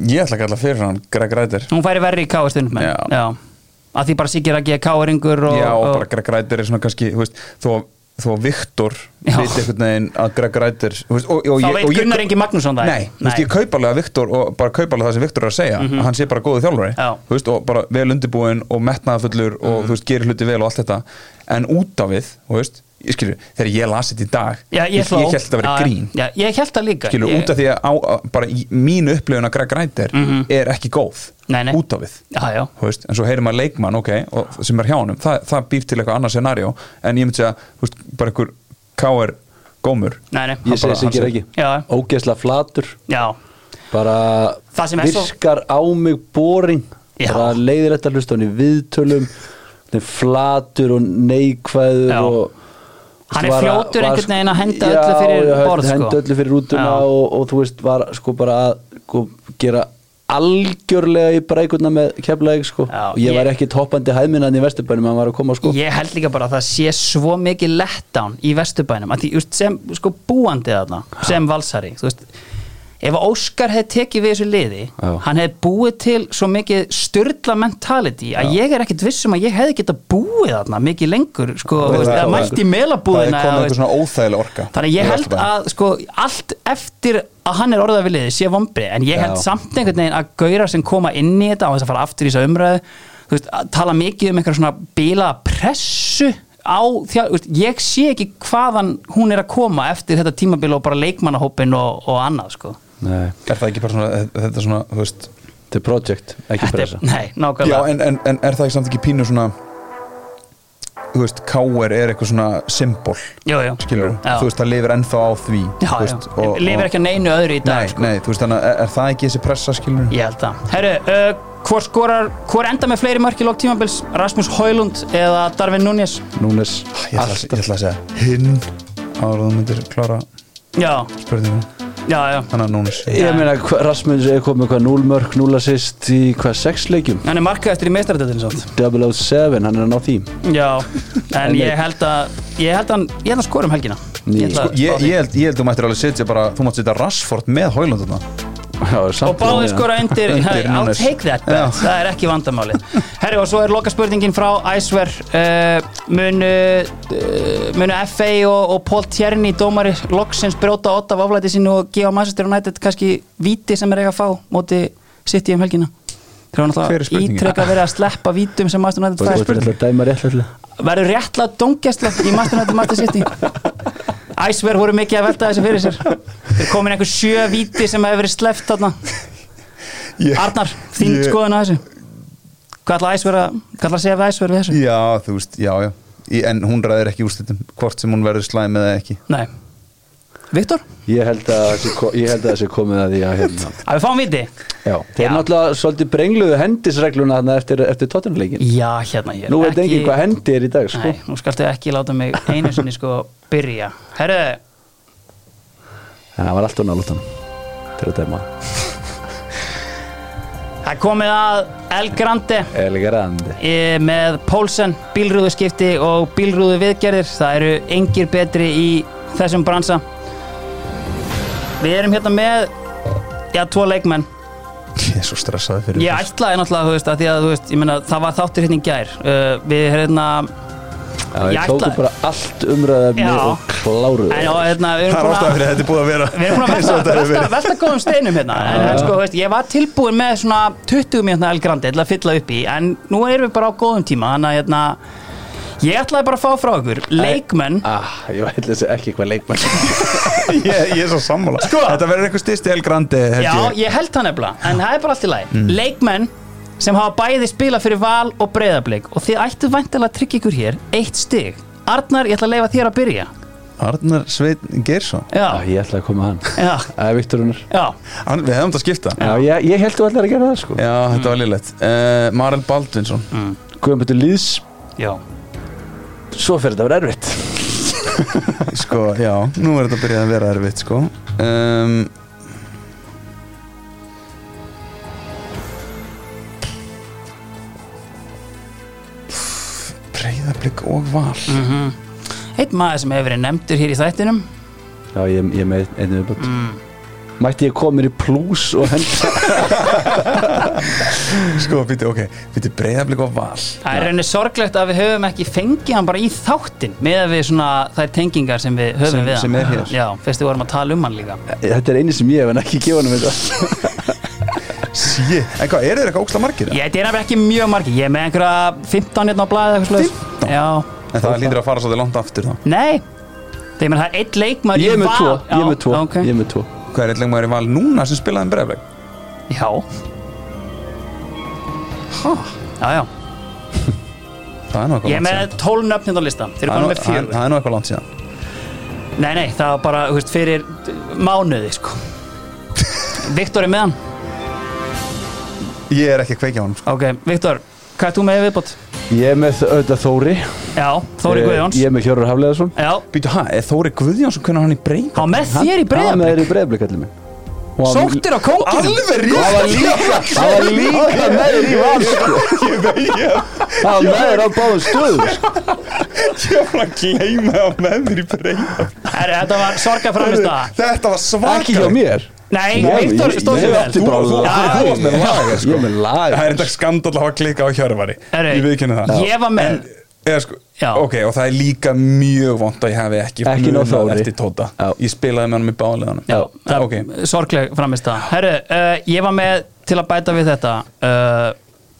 S3: ég ætla að kalla fyrir hann Greg Ræder
S1: Hún færi verð í K.R. stuðningsmenn,
S3: Já.
S1: Að því bara Siggi Raggi er K.R.ingur og...
S3: Já, og bara
S1: og,
S3: Greg Ræder er svona kannski þú veist, þó, þó að Viktor
S1: Já.
S3: veit einhvern veginn að Greg Ræder og, og, og
S1: Þá
S3: ég-
S1: veit
S3: og ég-
S1: Gunnar Ingi Magnússon það.
S3: Nei, þú veist,
S1: Nei. Mhm.
S3: ég kaup alveg að Viktor og bara kaup alveg það sem Viktor er að segja að hann sé bara góðu þjálfari
S1: Já. Mhm.
S3: þú veist, og bara vel undirbúinn og metnaðafullur og þú veist, gerir hluti vel og allt þetta en út af við, þú veist ég skilur, þegar ég las þetta í dag
S1: Já, ég,
S3: ég,
S1: hló.
S3: ég held þetta að vera
S1: Já,
S3: grín
S1: Já, ég held það líka.
S3: skilur,
S1: ég,
S3: út af því að á, á- bara í, mín upplifun að Greg Ræder er ekki góð
S1: Mhm. Nei, nei.
S3: út af við
S1: Já, já.
S3: Þú veist, en svo heyrir maður leikmann, ok, og, sem er hjá honum, Þa, það býr til eitthvað annað scenarió en ég myndi segja, þú veist, bara einhver K.R. gómur
S1: Nei, nei.
S2: Ég segi
S3: bara-
S2: Siggi
S3: hann
S2: Regi
S1: Já.
S2: Ógeðslega flatur
S1: Já,
S2: bara
S1: Það sem er svo-
S2: virkar á mig boring
S1: Já.
S2: bara leiðir þetta hlusta hann í viðtölum hann er flatur og neikvæður
S1: Já.
S2: og
S1: Hann er
S2: var að-
S1: fljótur
S2: var-
S1: einhvern veginn að henda
S2: já,
S1: öllu fyrir
S2: já,
S1: borð, sko.
S2: henda öllu fyrir rútuna
S1: Já.
S2: og, og þú veist var sko bara að sko, gera algjörlega í brækuna með keflaðið sko
S1: Já,
S2: og ég,
S1: ég-
S2: var ekki toppandi hæðminnan í vesturbænum hann var að koma sko
S1: Ég held líka bara að það sé svo mikið letdown í vesturbænum að því just, sem sko búandi þarna sem valsari þú veist ef að Óskar hefði tekið við þessu liði
S2: Já.
S1: hann hefði búið til svo mikið styrla mentality að ég er ekkit viss um að ég hefði getað búið þarna mikið lengur sko, þú veist, eða mætt í melabúðina
S3: það er
S1: eða,
S3: komið
S1: þú
S3: einhver
S1: veist,
S3: svona óþægileg orka
S1: Þannig að ég
S3: Í
S1: held
S3: Vesturbænum.
S1: að sko, allt eftir að hann er orðað við liðið sé vombri en ég held
S2: Já.
S1: samt einhvern veginn að gauðra sem koma inn í þetta á þess að fara aftur í þessa umræðu þú veist, að tala mikið um einhverja svona bila pressu á þjá, þú veist, ég sé ekki hvaðan hún er að koma eftir þetta tímabil og bara leikmannahópin og, og annað sko.
S2: Nei,
S3: er það ekki bara svona, þetta svona, þú veist
S2: þetta er project, ekki
S1: Þetta
S2: pressa
S1: er, nei,
S3: já,
S1: nákvæmlega
S3: en, en, en er það ekki samt ekki pínu svona þú veist, K.R. er eitthvað svona symbol,
S1: Jú, jú.
S3: skilur
S1: Já.
S3: þú veist, það lifir ennþá á því
S1: Já,
S3: þú
S1: já.
S3: veist, og-
S1: lifir ekki á neinu öðru í dag sko.
S3: Nei, nei, þú veist, þannig að er, er það ekki þessi pressa, skilur
S1: Ég held það. Herru, uh, hvor skorar, hvor enda með fleiri mörki lók tímabils? Rasmus Hólund eða Darvin Núñez?
S2: Núnes,
S3: Ég ætla, að- ég ætla að segja hinn áður en þú myndir klára
S1: Já,
S3: spurningum
S1: já, já.
S3: þannig að núnis
S2: Ég meina, hva- Rasmus er komið hvað 0 mörg, 0 assist í hvað 6 leikjum
S1: Hann er markað eftir í meistaradeildinni svo
S2: 007, hann er að ná því
S1: Já, en
S2: Nei.
S1: ég held að ég held hann, ég held hann skorum helgina ætla
S2: Ný.
S1: að spá
S3: sko, Ég,
S1: því.
S3: ég, held, ég held þú mættir alveg setja bara Þú mátt setja Rashford með Hoylund þarna
S1: og báði skora undir,
S3: Undir,
S1: I'll
S3: Núnes.
S1: take that
S3: Já.
S1: bet, það er ekki vandamáli herri og svo er loka spurningin frá Æsver uh, munu uh, munu FA og, og Paul Tierney dómari loksins brjóta 8 af aflæti sínu og gefa Manchester United kannski víti sem er eiga að fá móti City um helgina þegar hann
S3: Hver er
S1: alltaf
S3: spurningin?
S1: ítreka verið að sleppa vítum sem Manchester United
S2: Það er
S1: fær
S2: spurning Það er dæma rétt alltaf
S1: verður réttlega dungjastla í Master United Master City Æsver voru mikið að velta þessu fyrir sér Þeir komin einhver sjö víti sem hefur verið sleppt þarna Arnar, þín
S3: Ég-
S1: skoðun á þessu Hvað ætla Æsver að Hvað ætla að segja við Æsver við þessu?
S3: Já, þú veist, já, já Í- En hún ræðir ekki úrslitum Hvort sem hún verður slæm eða ekki
S1: Nei Viktor?
S2: Ég held að það sé ko- ég held að það sé komið að því að hérna
S1: Að við fáum víti?
S2: Já, þeir
S1: Já.
S2: náttúrulega svolítið brengluðu hendisregluna þarna eftir, eftir tottenleikin
S1: Já, hérna ég er
S2: Nú veit enginn hvað hendi er í dag sko.
S1: Nei, nú skaltu ekki láta mig einu sinni sko byrja Herru,
S2: En það var alltaf nálúttan Þegar að dæma
S1: það er komið að El Grande
S2: Elgarandi
S1: Eh, með Pólsen, bílrúðuskipti og bílrúðu viðgerðir það eru engir betri í þessum bransa við erum hérna með já, tvo leikmenn
S3: Ég er svo stressaði fyrir
S1: ég ætlaði náttúrulega, þú veist, að því að þú veist, ég meina, það var þáttur hérna í gær uh, við hérna,
S2: Já, við
S1: Ég
S2: tókum
S1: ætlaði-
S2: bara allt umræðafni
S1: Já.
S2: og kláruðu
S1: en, og, hérna við
S3: Það er
S1: erum búin
S3: ástæða
S1: að
S3: fyrir að þetta er búið að vera
S1: Við erum búin að
S3: eins og
S1: velta,
S3: þetta hefur
S1: velta,
S3: verið.
S1: velta góðum steinum hérna en, en sko, veist, ég var tilbúin með svona 20 mínútna El Grandi til að fylla upp í en nú erum við bara á góðum tíma þannig að hérna, ég ætlaði bara að fá frá ykkur leikmenn
S2: ah, Ég ætla þessi ekki hvað leikmann
S3: ég, ég er Sko- svo sammála Þetta verður eitthvað styrst í El Grande held
S1: Já,
S3: ég. Mm.
S1: ég held það nefnilega, en það er bara allt í lagi Leikmenn sem hafa bæði spila fyrir val og breyðablík og þið ættu væntilega að tryggja ykkur hér eitt stig Arnar, ég ætla að leifa þér að byrja
S3: Arnar Sveinn Geirsson
S1: Já,
S2: ah, Ég ætla að koma að hann
S1: já,
S2: Það er Viktor Unnar
S1: já
S3: Hann- Við hefum þetta að skipta
S2: Já, ég, ég held þú allir að gera það sko
S3: Já, þetta var liðlegt uh, Marel Baldvinsson
S2: Guðmundur Lýðs,
S1: Já,
S2: svo fer þetta að vera erfitt
S3: Sko, já, nú er þetta að byrja að vera erfitt sko um, Breiðablík og val
S1: Mhm. eitt maður sem hefur verið nefndur hér í þættinum
S2: Já, ég, ég með einu viðbútt
S1: Mm.
S2: Mætti ég koma mér í plús og henda
S3: Sko, býtti, ok, býtti breiðablík og val
S1: Það er rauninni sorglegt að við höfum ekki fengið hann bara í þáttin með að við svona þær tengingar sem við höfum
S3: Sem-
S1: við hann
S3: sem er hér.
S1: Já, fyrst við vorum að tala um hann líka
S2: Þetta er eini sem ég hef en ekki gefa hann þetta
S3: Sí, en hvað, eru þeir eitthvað óksla margir?
S1: Ég þetta er nefnilega ekki mjög margi, ég er með einhverja 15 hérna á blaðið eitthvað slags 15? Já,
S3: En það lítur að fara svo þið langt aftur þá
S1: Nei Þegar það er eitt leikmaður
S2: Ég er
S1: í
S2: með
S1: val
S2: tvo, ég
S1: Já,
S2: er með tvo,
S1: ok.
S2: ég er með tvo
S3: Hvað er eitthvað maður í val núna sem spilaði um breiðablík?
S1: Já Já, já
S3: Það er nú eitthvað
S1: Ég er með 12 nöfn hérna á listan Þeir eru bara
S3: Það er
S1: með
S3: nú- það-
S1: fjögur
S3: það er nú eitthvað langt síðan
S1: Nei, nei, það var bara, þú veist, fyrir mánuði, sko Viktor er með hann
S3: Ég er ekki að kveikja á hann sko.
S1: Ok, Viktor, hvað er þú með í viðbót?
S2: Ég er með auðvitað Þóri
S1: Já, Þóri
S2: Eh,
S1: Guðjóns
S2: Ég er með Hjörur Hafleðarsson
S1: Já,
S3: Býtu, hæ, er Þóri Guðjónsson hvernig hann í breyð?
S1: á með þér í
S2: Hann er
S1: breyðablik
S2: í breyðablikallið minn Og hann-
S1: Sóttir á kókinu
S2: Það var líka, það var líka með þér í val sko. Það var með þér á báðum stöðu sko.
S3: Ég var að gleyma það með mér í breyða
S1: Herri, Þetta var sorga framist að
S3: Þetta var svakar
S2: Ekki hjá mér
S1: Nei,
S2: Nei,
S1: Viktor
S2: ég-
S1: stóð
S2: ég
S1: sér
S2: átti
S1: vel
S2: bara
S3: Þú-
S2: lag.
S3: þú- þú varst með lag, sko.
S2: Ég er með lag
S3: Það er þetta skandal að hafa klikkað á Hjörvari
S1: Herri,
S3: Ég viðkynna það
S1: ég var með-
S3: En, eða sko
S1: Já.
S3: Ok, og það er líka mjög vond að ég hafi ekki
S2: Ekki
S3: munað
S2: nóg Þóri.
S3: eftir Tóta
S2: Já.
S3: Ég spilaði með hann í báleðanum
S1: Já, það,
S3: ok
S1: sorgleg framist það Herru, uh, ég var með til að bæta við þetta uh,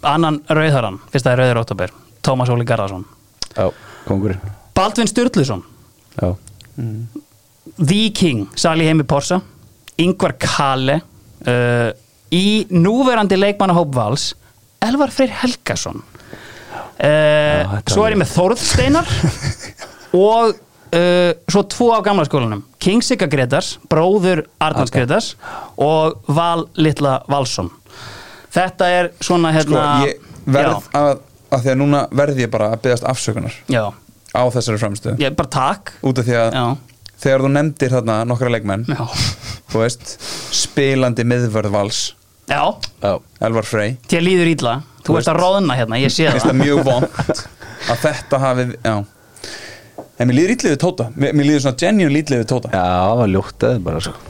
S1: annan rauðharan, fyrst það er rauður óttabér Tómas Óli Garðarsson
S2: Já, kongurinn
S1: Baldvin Sturluson,
S2: Já,
S1: The King Sali Heimi Porsa, Ingvar Kalle uh, í núverandi leikmannahóp Vals Elvar Freyr Helgason uh,
S2: þetta
S1: Svo
S2: var
S1: er ég með Þórðsteinar og uh, svo tvo af gamla skólanum King Sigga Gretars, bróður Arnars Gretars og Val Littla Valsson Þetta er svona
S3: Sko,
S1: hérna
S3: ég verð
S1: já,
S3: að að Því að núna verð ég bara að byggast afsökunar
S1: já,
S3: Á þessari framstöðu
S1: ég bara takk
S3: Út af því að
S1: Já,
S3: Þegar þú nefndir þarna nokkra leikmenn
S1: já,
S3: Þú veist Spilandi miðvörð vals
S1: já
S2: já
S3: Elvar Frey
S1: Þér líður ítla, þú
S3: Þú
S1: ert að
S3: veist-
S1: róðna hérna, ég sé
S3: finnst
S1: það
S3: það mjög vond að þetta hafi já. en mér líður ítlið við Tóta mér, mér líður svona genuine ítlið við Tóta
S2: Já, það var ljótt aðeins bara sko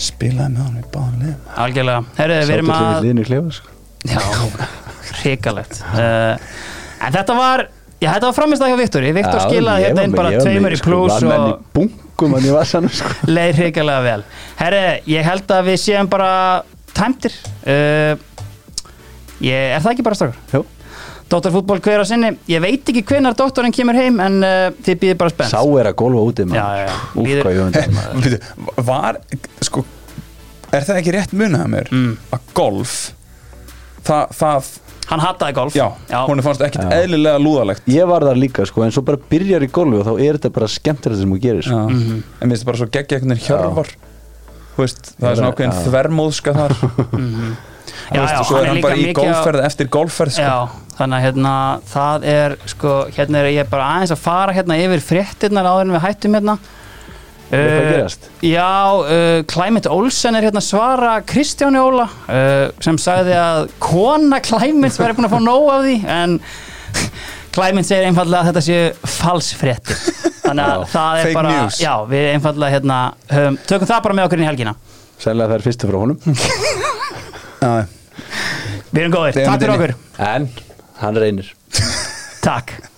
S3: spilaði með hann við báðum liðum
S1: algjörlega Herru, við
S2: Sáttu
S1: erum
S2: allir
S1: að
S2: við liðinu í klefa sko
S1: Já, hrikalegt uh, En þetta var Já, þetta var framist hjá Viktori Viktor
S2: Já,
S1: skilaði
S2: ég
S1: hérna
S2: var
S1: inn
S2: með-
S1: bara
S2: ég var með,
S1: tveimur í
S2: sko,
S1: plús
S2: Var menn í
S1: og
S2: bunkum en ég var sann sko
S1: leið hrikalega vel Herre, ég held að við séum bara tæmtir uh, ég, Er það ekki bara strákar?
S2: Jú.
S1: Dóttarfútból hver á sinni Ég veit ekki hvenar dóttorinn kemur heim en uh, þið býðir bara spennt
S2: Sá er að golfa úti
S1: Já, já, já.
S2: maður Úf,
S1: Líður-
S2: hvað ég undan maður
S3: Býtu, var, sko, er það ekki rétt munið að mér
S1: Mm.
S3: að golf það, það
S1: Hann hattaði golf
S3: já,
S1: já.
S3: honum fannst ekkit
S2: Já.
S3: eðlilega lúðalegt
S2: Ég var þar líka sko, en svo bara byrjar í golfi og þá er þetta bara skemmtilegt sem þú gerir sko.
S1: Mhm.
S3: en mér finnst bara svo geggja einhvern veginn hjörvar Þú veist, það er svona
S2: Já.
S3: ákveðin þvermóðska þar
S1: Já,
S3: Þú veist,
S1: Mhm. já,
S3: og svo
S1: hann er
S3: er hann
S1: líka
S3: bara í
S1: mikið á-
S3: golfferð eftir golfferð sko.
S1: Já, þannig að hérna, það er sko, hérna er ég bara aðeins að fara hérna yfir fréttirnar áður en við hættum hérna
S2: Er eitthvað að
S1: Eh,
S2: gerast?
S1: Já, uh, Climate Olsen er hérna að svara Kristjáni Óla uh, sem sagði að kona Climate væri búin að fá nóg af því en Climate segir einfallega að þetta séu falsfréttir þannig að
S2: Já,
S1: það er
S3: fake
S1: bara
S3: news.
S1: já, við einfallega hérna um, tökum það bara með okkur inn í helgina
S2: Sænlega það er fyrstu frá honum
S3: Já.
S1: Við erum góðir,
S3: Þegar
S1: takk fyrir
S3: myndinni.
S1: okkur
S2: En hann reynir
S1: Takk